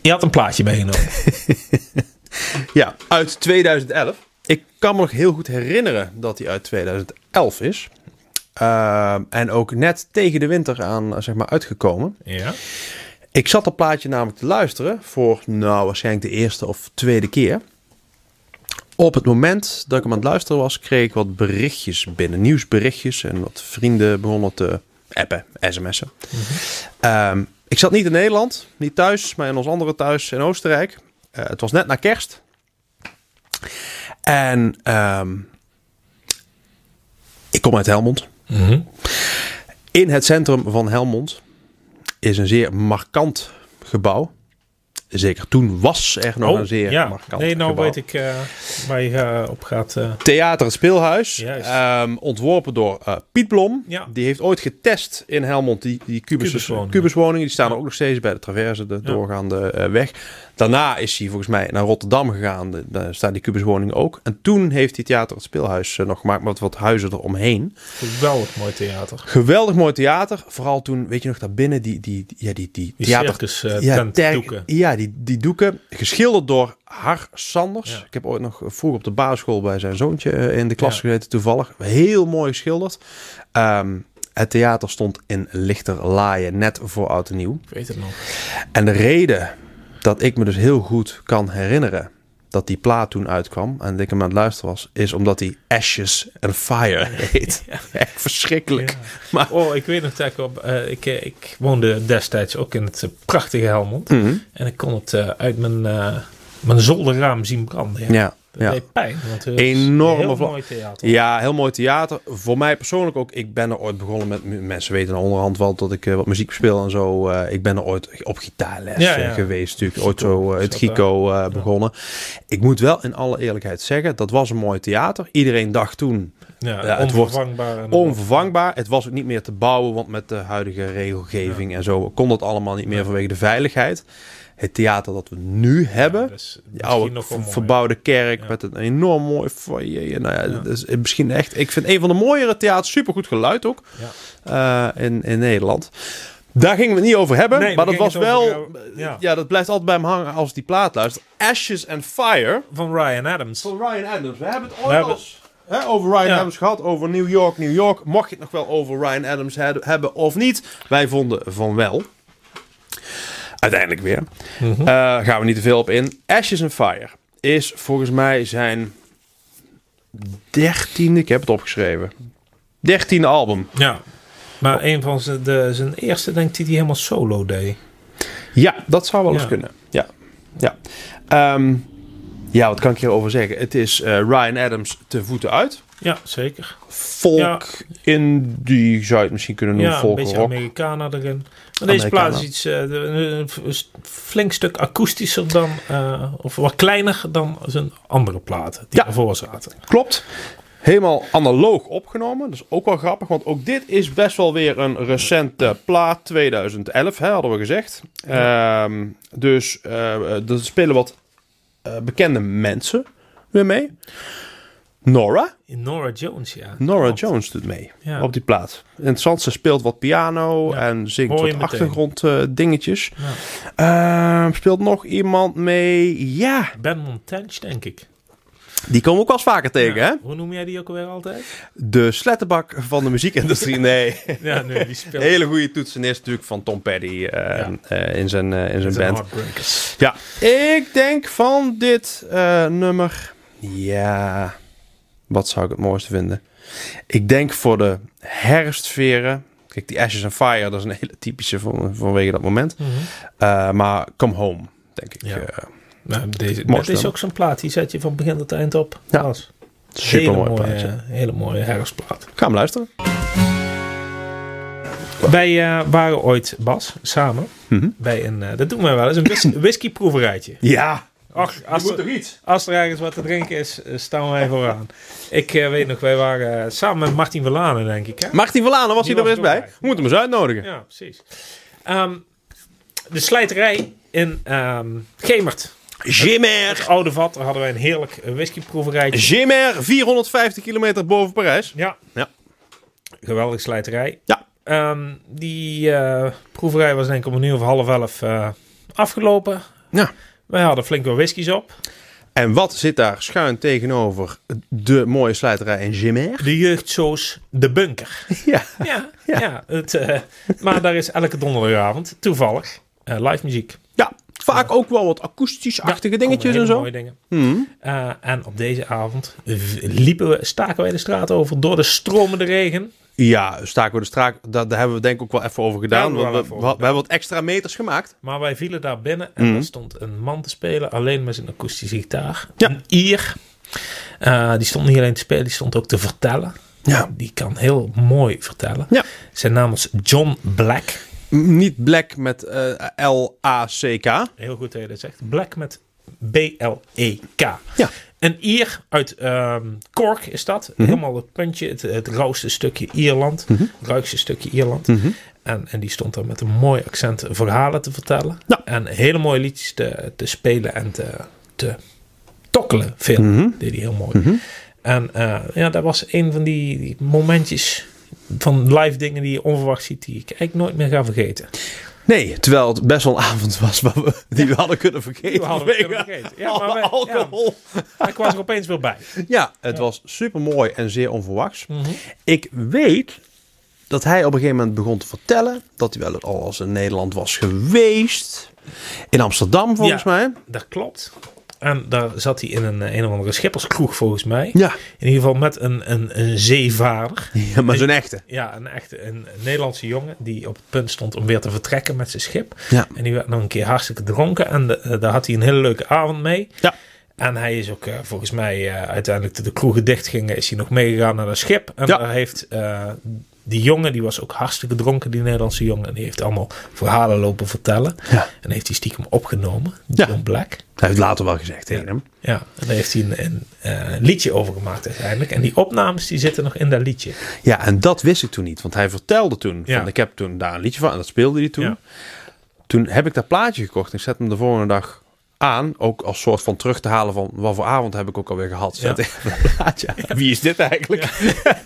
[SPEAKER 2] Je had een plaatje meegenomen.
[SPEAKER 1] Ja, uit 2011. Ik kan me nog heel goed herinneren dat hij uit 2011 is. Ehm, en ook net tegen de winter aan, eh, zeg maar, uitgekomen.
[SPEAKER 2] Ja.
[SPEAKER 1] Ik zat dat plaatje namelijk te luisteren voor, nou, waarschijnlijk de eerste of tweede keer. Op het moment dat ik hem aan het luisteren was, kreeg ik wat berichtjes binnen. Nieuwsberichtjes en wat vrienden begonnen te appen, sms'en. Ehm, ik zat niet in Nederland, niet thuis, maar in ons andere thuis in Oostenrijk. Eh, het was net na kerst. En ehm, ik kom uit Helmond.
[SPEAKER 2] Mhm.
[SPEAKER 1] In het centrum van Helmond is een zeer markant gebouw. zeker toen was er nog een zeer
[SPEAKER 2] Oh, ja.
[SPEAKER 1] markant
[SPEAKER 2] Nee, nou
[SPEAKER 1] gebouw.
[SPEAKER 2] weet ik eh, waar je eh, op gaat. eh,
[SPEAKER 1] Theater Het Speelhuis,
[SPEAKER 2] Juist.
[SPEAKER 1] ehm, ontworpen door eh, Piet Blom.
[SPEAKER 2] Ja.
[SPEAKER 1] Die heeft ooit getest in Helmond die, die Cubus-
[SPEAKER 2] Cubuswoningen.
[SPEAKER 1] Cubuswoningen. Die staan er ook nog steeds bij de Traverse, de
[SPEAKER 2] Ja.
[SPEAKER 1] doorgaande eh, weg. Daarna is hij volgens mij naar Rotterdam gegaan. De- Daar staan die Cubuswoningen ook. En toen heeft hij Theater Het Speelhuis eh, nog gemaakt met wat huizen eromheen.
[SPEAKER 2] geweldig mooi theater.
[SPEAKER 1] Geweldig mooi theater. Vooral toen, weet je nog, daarbinnen die, die, die- ja, die, die
[SPEAKER 2] Die
[SPEAKER 1] theater
[SPEAKER 2] circus eh,
[SPEAKER 1] ja, ter-
[SPEAKER 2] tentdoeken.
[SPEAKER 1] ja die, die doeken. Geschilderd door Har Sanders.
[SPEAKER 2] Ja.
[SPEAKER 1] Ik heb ooit nog vroeg op de basisschool bij zijn zoontje eh, in de klas gezeten, toevallig. Heel mooi geschilderd. Ehm, het theater stond in Lichterlaaien, net voor Oud en Nieuw.
[SPEAKER 2] Ik weet het nog.
[SPEAKER 1] En de reden dat ik me dus heel goed kan herinneren dat die plaat toen uitkwam en dat ik hem aan het luisteren was, is omdat hij Ashes and Fire heet. Echt verschrikkelijk.
[SPEAKER 2] Ja.
[SPEAKER 1] Maar-
[SPEAKER 2] Oh, ik weet nog dat ik, op, eh, ik, eh, ik woonde destijds ook in het eh, prachtige Helmond.
[SPEAKER 1] Mhm.
[SPEAKER 2] En ik kon het eh, uit mijn, eh, mijn zolderraam zien branden. Ja.
[SPEAKER 1] Ja,
[SPEAKER 2] Dat
[SPEAKER 1] ja.
[SPEAKER 2] deed pijn. Want het
[SPEAKER 1] Enorme
[SPEAKER 2] is een heel
[SPEAKER 1] vla-
[SPEAKER 2] mooi theater.
[SPEAKER 1] Ja, heel mooi theater. Voor mij persoonlijk ook. Ik ben er ooit begonnen met... mu- Mensen weten aan onderhand wel dat ik eh, wat muziek speel en zo. Eh, ik ben er ooit op gitaarles
[SPEAKER 2] Ja,
[SPEAKER 1] eh,
[SPEAKER 2] ja.
[SPEAKER 1] geweest natuurlijk. Ooit zo eh, het
[SPEAKER 2] Zat daar.
[SPEAKER 1] Gico eh, begonnen. Ik moet wel in alle eerlijkheid zeggen, dat was een mooi theater. Iedereen dacht toen
[SPEAKER 2] Ja,
[SPEAKER 1] Ja, het wordt
[SPEAKER 2] onvervangbaar. en-
[SPEAKER 1] onvervangbaar. Het was ook niet meer te bouwen, want met de huidige regelgeving en zo kon dat allemaal niet meer vanwege de veiligheid. Het theater dat we nu hebben,
[SPEAKER 2] Ja, dus
[SPEAKER 1] die
[SPEAKER 2] misschien
[SPEAKER 1] oude
[SPEAKER 2] nog wel
[SPEAKER 1] v-
[SPEAKER 2] mooi.
[SPEAKER 1] verbouwde kerk
[SPEAKER 2] Ja.
[SPEAKER 1] met een enorm mooi foyer. En Nou ja,
[SPEAKER 2] Ja.
[SPEAKER 1] dat is misschien echt. Ik vind een van de mooiere theaters, supergoed geluid ook eh, in, in Nederland. Daar gingen we het niet over hebben,
[SPEAKER 2] Nee,
[SPEAKER 1] maar
[SPEAKER 2] we
[SPEAKER 1] dat was
[SPEAKER 2] gingen het
[SPEAKER 1] wel.
[SPEAKER 2] over jou- ja.
[SPEAKER 1] ja. dat blijft altijd bij hem hangen als die plaat luistert. Ashes and Fire
[SPEAKER 2] Van Ryan Adams.
[SPEAKER 1] van Ryan Adams. We hebben het ooit
[SPEAKER 2] We hebben-
[SPEAKER 1] al eens, hè, over Ryan
[SPEAKER 2] Ja.
[SPEAKER 1] Adams gehad, over New York, New York. Mocht je het nog wel over Ryan Adams he- hebben of niet, wij vonden van wel. Uiteindelijk weer.
[SPEAKER 2] Mhm.
[SPEAKER 1] Eh, gaan we niet te veel op in. Ashes and Fire is volgens mij zijn dertiende, ik heb het opgeschreven, dertiende album.
[SPEAKER 2] Ja. Maar
[SPEAKER 1] Oh.
[SPEAKER 2] een van zijn, de, zijn eerste, denk ik, die hij helemaal solo deed.
[SPEAKER 1] Ja, dat zou wel eens
[SPEAKER 2] Ja.
[SPEAKER 1] kunnen. Ja, ja. Ehm, ja, wat kan ik hierover zeggen? Het is eh, Ryan Adams te voeten uit.
[SPEAKER 2] Ja, zeker.
[SPEAKER 1] Folk in die zou je het misschien kunnen noemen,
[SPEAKER 2] Ja, een
[SPEAKER 1] folk
[SPEAKER 2] beetje
[SPEAKER 1] rock.
[SPEAKER 2] Americana erin. Maar deze plaat is
[SPEAKER 1] Americana.
[SPEAKER 2] iets, eh, de- een een flink stuk akoestischer dan, eh, of wat kleiner dan zijn andere platen die
[SPEAKER 1] Ja.
[SPEAKER 2] ervoor zaten.
[SPEAKER 1] Klopt. Helemaal analoog opgenomen. Dat is ook wel grappig, want ook dit is best wel weer een recente plaat. 2011, hè, hadden we gezegd. Ehm, dus eh er spelen wat eh, bekende mensen weer mee. Nora.
[SPEAKER 2] Nora Jones, ja.
[SPEAKER 1] Nora
[SPEAKER 2] Klopt.
[SPEAKER 1] Jones doet mee
[SPEAKER 2] Ja.
[SPEAKER 1] op die plaat. Interessant, ze speelt wat piano
[SPEAKER 2] Ja.
[SPEAKER 1] en zingt
[SPEAKER 2] Hoor je
[SPEAKER 1] wat
[SPEAKER 2] meteen.
[SPEAKER 1] achtergronddingetjes. Ehm, speelt nog iemand mee? Ja,
[SPEAKER 2] Ben Montage, denk ik.
[SPEAKER 1] die komen we ook wel eens vaker tegen,
[SPEAKER 2] Ja.
[SPEAKER 1] hè?
[SPEAKER 2] Hoe noem jij die ook alweer altijd?
[SPEAKER 1] De slettenbak van de muziekindustrie. Nee,
[SPEAKER 2] ja, nee, die speelt
[SPEAKER 1] hele goede toetsenist natuurlijk van Tom Petty eh,
[SPEAKER 2] Ja.
[SPEAKER 1] eh, in zijn, eh, in zijn
[SPEAKER 2] zijn
[SPEAKER 1] band.
[SPEAKER 2] Heartbreakers.
[SPEAKER 1] Ja, ik denk van dit eh, nummer. Ja, wat zou ik het mooiste vinden? Ik denk voor de herfstveren. Kijk, die Ashes and Fire, dat is een hele typische van, vanwege dat moment.
[SPEAKER 2] Mhm.
[SPEAKER 1] Eh, maar Come Home, denk ik.
[SPEAKER 2] Ja.
[SPEAKER 1] eh,
[SPEAKER 2] Nou, deze,
[SPEAKER 1] Mooi
[SPEAKER 2] dat is
[SPEAKER 1] stem.
[SPEAKER 2] ook zo'n plaat, die zet je van begin tot eind op.
[SPEAKER 1] Ja.
[SPEAKER 2] Alles.
[SPEAKER 1] supermooi
[SPEAKER 2] hele,
[SPEAKER 1] plaatje.
[SPEAKER 2] mooie, hele mooie herfstplaat.
[SPEAKER 1] Ga hem luisteren.
[SPEAKER 2] Wij eh, waren ooit, Bas, samen
[SPEAKER 1] Mhm.
[SPEAKER 2] bij een, eh, dat doen wij wel eens, een whis whiskyproeverijtje.
[SPEAKER 1] Ja,
[SPEAKER 2] Ach, als er,
[SPEAKER 1] iets?
[SPEAKER 2] als er ergens wat te drinken is, eh, staan wij vooraan. Ik eh, weet nog, wij waren eh, samen met Martin Verlanen, denk ik. Hè?
[SPEAKER 1] Martin Verlanen was
[SPEAKER 2] Die
[SPEAKER 1] hij er
[SPEAKER 2] was
[SPEAKER 1] best
[SPEAKER 2] er
[SPEAKER 1] bij.
[SPEAKER 2] ook bij.
[SPEAKER 1] We moeten hem eens uitnodigen.
[SPEAKER 2] Ja, precies. Ehm, de slijterij in ehm Gemert.
[SPEAKER 1] Gemer.
[SPEAKER 2] Het oude vat, daar hadden wij een heerlijk eh, whiskyproeverijtje.
[SPEAKER 1] Gemer, 450 kilometer boven Parijs.
[SPEAKER 2] Ja.
[SPEAKER 1] Ja.
[SPEAKER 2] Geweldige slijterij.
[SPEAKER 1] Ja.
[SPEAKER 2] Ehm, die eh, proeverij was denk ik om een uur of half elf eh, afgelopen.
[SPEAKER 1] Ja.
[SPEAKER 2] Wij hadden flink wat whiskies op.
[SPEAKER 1] En wat zit daar schuin tegenover de mooie slijterij in Gemer?
[SPEAKER 2] De jeugdsoos De Bunker.
[SPEAKER 1] Ja.
[SPEAKER 2] Ja, ja.
[SPEAKER 1] Ja.
[SPEAKER 2] het, eh, maar daar is elke donderdagavond toevallig eh, live muziek.
[SPEAKER 1] ja. Vaak ook wel wat akoestisch-achtige dingetjes
[SPEAKER 2] Hele
[SPEAKER 1] en zo.
[SPEAKER 2] Mooie dingen.
[SPEAKER 1] Mhm.
[SPEAKER 2] Eh, en op deze avond v- liepen we, staken wij de straat over door de stromende regen.
[SPEAKER 1] Ja, staken we de straat. Daar, daar hebben we denk ik ook wel even over gedaan.
[SPEAKER 2] Daar hebben we
[SPEAKER 1] want
[SPEAKER 2] wel
[SPEAKER 1] we, we-
[SPEAKER 2] even over
[SPEAKER 1] we hebben wat extra meters gemaakt.
[SPEAKER 2] Maar wij vielen daar binnen en
[SPEAKER 1] Mhm.
[SPEAKER 2] er stond een man te spelen, alleen met zijn akoestische gitaar.
[SPEAKER 1] Ja.
[SPEAKER 2] Een Ier. Eh, die stond niet alleen te spelen, die stond ook te vertellen.
[SPEAKER 1] Ja.
[SPEAKER 2] Die kan heel mooi vertellen.
[SPEAKER 1] Ja.
[SPEAKER 2] Zijn naam was John Black.
[SPEAKER 1] Niet black met eh, L-A-C-K.
[SPEAKER 2] Heel goed dat je dat zegt. Black met B-L-E-K.
[SPEAKER 1] Ja. Mhm.
[SPEAKER 2] Een Ier uit ehm, Cork is dat. Helemaal het puntje, het, het rauwste stukje Ierland. Ruikste stukje Ierland.
[SPEAKER 1] Mhm.
[SPEAKER 2] En, en die stond daar met een mooi accent verhalen te vertellen.
[SPEAKER 1] Ja.
[SPEAKER 2] En hele mooie liedjes te, te spelen en te, te tokkelen. Veel
[SPEAKER 1] Mhm.
[SPEAKER 2] deed hij heel mooi. En eh, ja, dat was een van die, die momentjes van live dingen die je onverwacht ziet. Die ik eigenlijk nooit meer ga vergeten.
[SPEAKER 1] Nee, terwijl het best wel een avond was waar we, die we hadden kunnen vergeten.
[SPEAKER 2] Die we hadden
[SPEAKER 1] vanwege
[SPEAKER 2] kunnen vergeten. Ja,
[SPEAKER 1] alle
[SPEAKER 2] maar wij- ja.
[SPEAKER 1] alcohol.
[SPEAKER 2] Maar ik was er opeens weer bij.
[SPEAKER 1] Ja, Mhm. het was super mooi en zeer onverwachts. Ik weet dat hij op een gegeven moment begon te vertellen dat hij wel al als in Nederland was geweest. In Amsterdam volgens
[SPEAKER 2] Ja.
[SPEAKER 1] mij.
[SPEAKER 2] Dat klopt. En daar zat hij in een, eh, een of andere schipperskroeg volgens mij.
[SPEAKER 1] Ja.
[SPEAKER 2] In ieder geval met een, een, een zeevaarder.
[SPEAKER 1] ja, maar zo'n echte.
[SPEAKER 2] Ja, een echte een Nederlandse jongen die op het punt stond om weer te vertrekken met zijn schip.
[SPEAKER 1] Ja.
[SPEAKER 2] En die werd nog een keer hartstikke dronken. En de- eh, daar had hij een hele leuke avond mee.
[SPEAKER 1] Ja.
[SPEAKER 2] En hij is ook eh, volgens mij eh, uiteindelijk toen de kroegen dichtgingen, is hij nog meegegaan naar dat schip. En
[SPEAKER 1] Ja.
[SPEAKER 2] daar heeft eh, die jongen, die was ook hartstikke dronken, die Nederlandse jongen. En die heeft allemaal verhalen lopen vertellen.
[SPEAKER 1] Ja.
[SPEAKER 2] En heeft hij stiekem opgenomen,
[SPEAKER 1] Ja.
[SPEAKER 2] John Black.
[SPEAKER 1] Hij heeft later wel gezegd tegen hem.
[SPEAKER 2] Ja, en daar heeft hij een, een eh, liedje over gemaakt uiteindelijk. En die opnames die zitten nog in dat liedje.
[SPEAKER 1] Ja, en dat wist ik toen niet. Want hij vertelde toen.
[SPEAKER 2] Ja.
[SPEAKER 1] Van, ik heb toen daar een liedje van. En dat speelde hij toen.
[SPEAKER 2] Ja.
[SPEAKER 1] Toen heb ik dat plaatje gekocht. En ik zet hem de volgende dag aan. Ook als soort van terug te halen van... Wat voor avond heb ik ook alweer gehad. Zet
[SPEAKER 2] Ja.
[SPEAKER 1] ik dat plaatje aan. Wie is dit eigenlijk?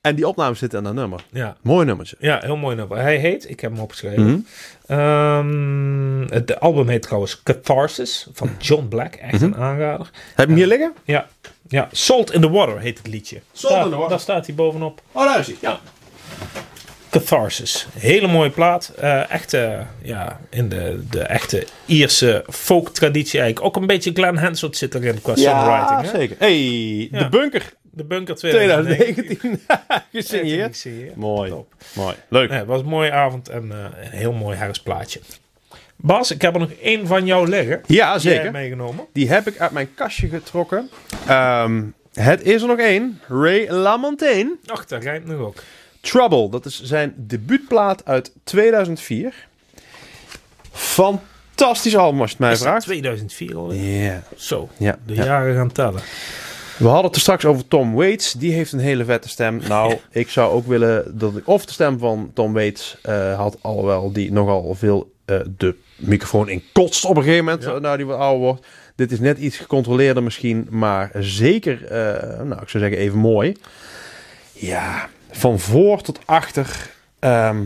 [SPEAKER 1] en die opname zit in dat nummer.
[SPEAKER 2] Ja,
[SPEAKER 1] Mooi nummertje.
[SPEAKER 2] ja heel mooi nummer. Hij heet, ik heb hem opgeschreven. Ehm, het album heet trouwens Catharsis van John Black. Echt een aanrader.
[SPEAKER 1] Heb je hem hier liggen?
[SPEAKER 2] Ja, ja, Salt in the Water heet het liedje.
[SPEAKER 1] Salt in the
[SPEAKER 2] Daar-
[SPEAKER 1] Water.
[SPEAKER 2] Daar staat hij bovenop.
[SPEAKER 1] Oh, daar is hij.
[SPEAKER 2] Ja. Catharsis. Hele mooie plaat. Eh, echte, ja, in de, de echte Ierse folk-traditie eigenlijk. Ook een beetje Glenn Hansard zit erin qua songwriting. Hè?
[SPEAKER 1] zeker. Hey, de bunker
[SPEAKER 2] De Bunker
[SPEAKER 1] 2019. Gesigneerd.
[SPEAKER 2] Gesigneerd.
[SPEAKER 1] Mooi.
[SPEAKER 2] Top.
[SPEAKER 1] Mooi. Leuk.
[SPEAKER 2] Nee, het was een mooie avond en eh, een heel mooi herfstplaatje. Bas, ik heb er nog één van jou liggen. Die
[SPEAKER 1] Ja,
[SPEAKER 2] jij
[SPEAKER 1] zeker.
[SPEAKER 2] hebt meegenomen.
[SPEAKER 1] Die heb ik uit mijn kastje getrokken. Ehm, het is er nog één. Ray LaMontagne.
[SPEAKER 2] Ach, dat rijmt nog ook.
[SPEAKER 1] Trouble. Dat is zijn debuutplaat uit 2004. Fantastisch album als je het mij
[SPEAKER 2] Is dat
[SPEAKER 1] vraagt.
[SPEAKER 2] 2004 al?
[SPEAKER 1] Ja.
[SPEAKER 2] Zo,
[SPEAKER 1] Ja,
[SPEAKER 2] de
[SPEAKER 1] ja.
[SPEAKER 2] jaren gaan tellen.
[SPEAKER 1] We hadden het er straks over Tom Waits. Die heeft een hele vette stem. Nou, ik zou ook willen dat ik of de stem van Tom Waits eh, had, alhoewel die nogal veel eh, de microfoon in kotst op een gegeven moment,
[SPEAKER 2] Ja.
[SPEAKER 1] eh, nou die wat ouder wordt. Dit is net iets gecontroleerder misschien, maar zeker, eh, nou ik zou zeggen even mooi. Ja, van voor tot achter ehm,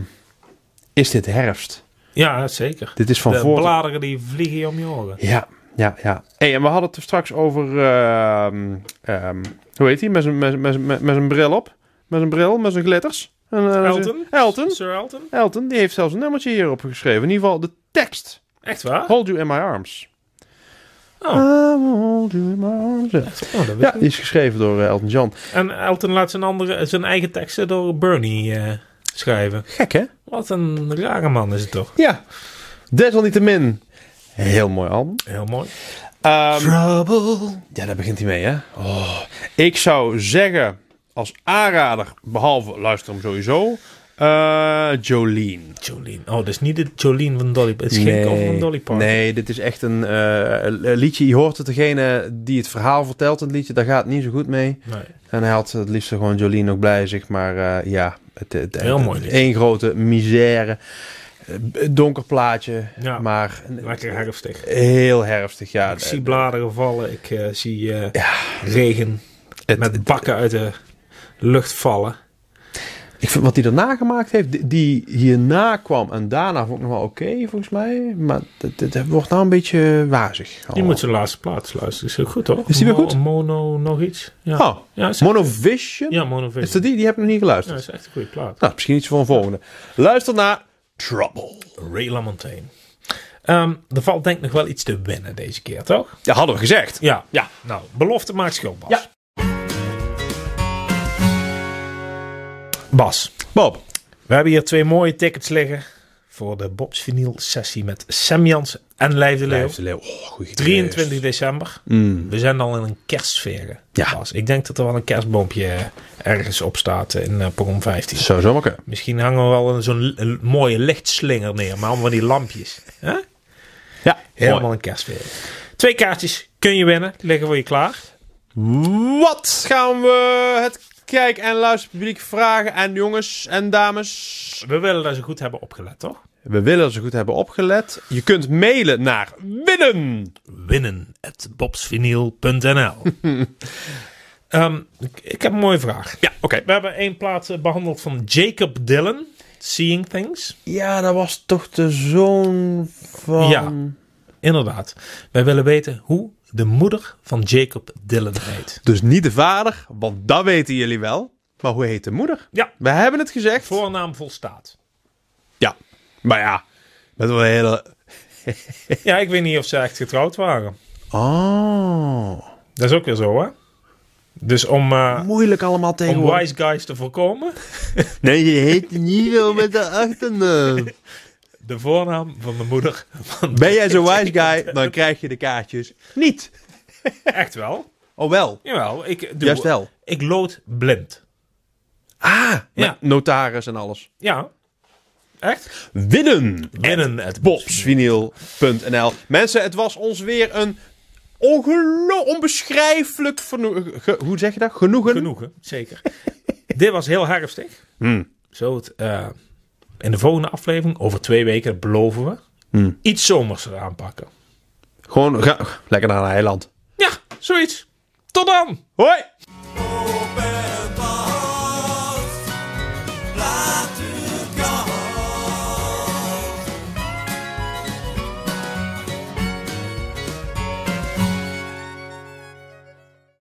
[SPEAKER 1] is dit herfst.
[SPEAKER 2] Ja, zeker.
[SPEAKER 1] Dit is van
[SPEAKER 2] de
[SPEAKER 1] voor tot
[SPEAKER 2] bladeren die vliegen je om je oren.
[SPEAKER 1] ja, ja, ja. Hey, en we hadden het er straks over. ehm, ehm, hoe heet hij? Met zijn met, met, met, met zijn bril op. Met zijn bril, met zijn glitters. En, eh,
[SPEAKER 2] Elton?
[SPEAKER 1] Elton.
[SPEAKER 2] Hm? Sir Elton?
[SPEAKER 1] Elton, die heeft zelfs een nummertje hierop geschreven. In ieder geval de tekst.
[SPEAKER 2] Echt waar?
[SPEAKER 1] Hold you in my arms.
[SPEAKER 2] Oh.
[SPEAKER 1] I will hold you in my arms. Ja.
[SPEAKER 2] Echt? Oh, dat weet
[SPEAKER 1] Ja,
[SPEAKER 2] ik
[SPEAKER 1] die is geschreven door eh, Elton John.
[SPEAKER 2] niet. En Elton laat zijn, andere, zijn eigen teksten door Bernie eh, schrijven.
[SPEAKER 1] Gek, hè?
[SPEAKER 2] Wat een rare man is het toch?
[SPEAKER 1] Ja. Desalniettemin. Heel mooi album.
[SPEAKER 2] Heel mooi.
[SPEAKER 1] Ehm,
[SPEAKER 3] Trouble.
[SPEAKER 1] Ja, daar begint hij mee, hè? Oh. Ik zou zeggen, als aanrader, behalve luister hem sowieso, eh, Jolene.
[SPEAKER 2] Jolene. Oh, dat is niet de Jolene van Dolly. Het is geen cover van Dolly Parton.
[SPEAKER 1] nee, dit is echt een eh, liedje. Je hoort het degene die het verhaal vertelt in het liedje. Daar gaat het niet zo goed mee.
[SPEAKER 2] nee.
[SPEAKER 1] En hij had het liefst gewoon Jolene ook bij zich. Maar eh, ja, het, het,
[SPEAKER 2] Heel
[SPEAKER 1] het-
[SPEAKER 2] mooi
[SPEAKER 1] het-
[SPEAKER 2] liedje.
[SPEAKER 1] één grote misère. Eh, Donker plaatje.
[SPEAKER 2] Ja.
[SPEAKER 1] Maar
[SPEAKER 2] Lekker herfstig.
[SPEAKER 1] heel herfstig, ja.
[SPEAKER 2] ik zie bladeren vallen, ik eh, zie eh, regen
[SPEAKER 1] Het-
[SPEAKER 2] met bakken uit de lucht vallen.
[SPEAKER 1] Ik vind wat hij daarna gemaakt heeft, die- die hierna kwam en daarna vond ik nog wel oké volgens mij. Maar dat, dat, dat wordt nou een beetje wazig.
[SPEAKER 2] Die
[SPEAKER 1] allemaal.
[SPEAKER 2] moet zijn laatste plaats luisteren. Is heel goed hoor.
[SPEAKER 1] Oh. Is die weer
[SPEAKER 2] Mo-
[SPEAKER 1] goed?
[SPEAKER 2] Mono nog iets. Ja,
[SPEAKER 1] Oh,
[SPEAKER 2] ja, is,
[SPEAKER 1] Monovision?
[SPEAKER 2] ja Mono
[SPEAKER 1] Is dat die? Die heb ik nog niet geluisterd.
[SPEAKER 2] Ja, is echt een goede plaat.
[SPEAKER 1] Nou, misschien iets voor een volgende. Luister naar Trouble.
[SPEAKER 2] Ray LaMontagne. Ehm, er valt denk ik nog wel iets te winnen deze keer, toch?
[SPEAKER 1] Ja, hadden we gezegd.
[SPEAKER 2] Ja.
[SPEAKER 1] Ja.
[SPEAKER 2] Nou, belofte maakt schuld, Bas.
[SPEAKER 1] Ja.
[SPEAKER 2] Bas,
[SPEAKER 1] Bob.
[SPEAKER 2] we hebben hier twee mooie tickets liggen voor de Bob's Vinyl sessie met Sam Jans en Lijf de Leeuw.
[SPEAKER 1] Blijft de leeuw. Oh, goeie gitarist.
[SPEAKER 2] 23 december.
[SPEAKER 1] Mm.
[SPEAKER 2] We zijn al in een kerstsfeer.
[SPEAKER 1] Ja.
[SPEAKER 2] Bas. Ik denk dat er wel een kerstboompje ergens op staat in eh, perron 15.
[SPEAKER 1] Zou zomaar kunnen.
[SPEAKER 2] Misschien hangen we wel een- zo'n l- een mooie lichtslinger neer, maar allemaal van die lampjes. hè?
[SPEAKER 1] Ja,
[SPEAKER 2] Helemaal een kerstfeer. Twee kaartjes kun je winnen. Die liggen voor je klaar.
[SPEAKER 1] Wat gaan we het kijk- en luisterpubliek vragen aan jongens en dames?
[SPEAKER 2] We willen dat ze goed hebben opgelet, toch?
[SPEAKER 1] We willen dat ze goed hebben opgelet. Je kunt mailen naar winnen.
[SPEAKER 2] Winnen at bobsvinyl.nl Ehm, ik, ik heb een mooie vraag.
[SPEAKER 1] Ja, oké.
[SPEAKER 2] We hebben één plaat eh, behandeld van Jacob Dylan. Seeing Things.
[SPEAKER 1] Ja, dat was toch de zoon van...
[SPEAKER 2] Ja. Inderdaad. Wij willen weten hoe de moeder van Jacob Dylan heet.
[SPEAKER 1] Dus niet de vader, want dat weten jullie wel. Maar hoe heet de moeder?
[SPEAKER 2] Ja.
[SPEAKER 1] We hebben het gezegd.
[SPEAKER 2] Voornaam volstaat.
[SPEAKER 1] Ja. Maar ja, met wel een hele...
[SPEAKER 2] Ja, ik weet niet of ze echt getrouwd waren.
[SPEAKER 1] Oh.
[SPEAKER 2] Dat is ook weer zo, hè? Dus om, eh,
[SPEAKER 1] Moeilijk allemaal
[SPEAKER 2] om
[SPEAKER 1] tegenwoordig.
[SPEAKER 2] wise guys te voorkomen,
[SPEAKER 3] Nee, je heet niet zo met de achternaam.
[SPEAKER 2] de voornaam van de moeder van...
[SPEAKER 1] Ben jij zo'n wise guy, dan krijg je de kaartjes niet.
[SPEAKER 2] Echt wel?
[SPEAKER 1] Oh wel,
[SPEAKER 2] Jawel, ik doe...
[SPEAKER 1] juist wel.
[SPEAKER 2] Ik lood blind.
[SPEAKER 1] Ah,
[SPEAKER 2] Ja.
[SPEAKER 1] met notaris en alles.
[SPEAKER 2] Ja. Echt?
[SPEAKER 1] Winnen.
[SPEAKER 2] Binnen het
[SPEAKER 1] Bobsvinyl.nl Mensen, het was ons weer een ongelo- onbeschrijfelijk vernoegen. Hoe zeg je dat? Genoegen?
[SPEAKER 2] Genoegen, zeker. Dit was heel herfstig.
[SPEAKER 1] Hmm.
[SPEAKER 2] Zo het, eh, in de volgende aflevering, over twee weken, dat beloven we,
[SPEAKER 1] Hmm.
[SPEAKER 2] iets zomers aanpakken.
[SPEAKER 1] Gewoon ga- lekker naar een eiland.
[SPEAKER 2] Ja, zoiets. Tot dan!
[SPEAKER 1] Hoi!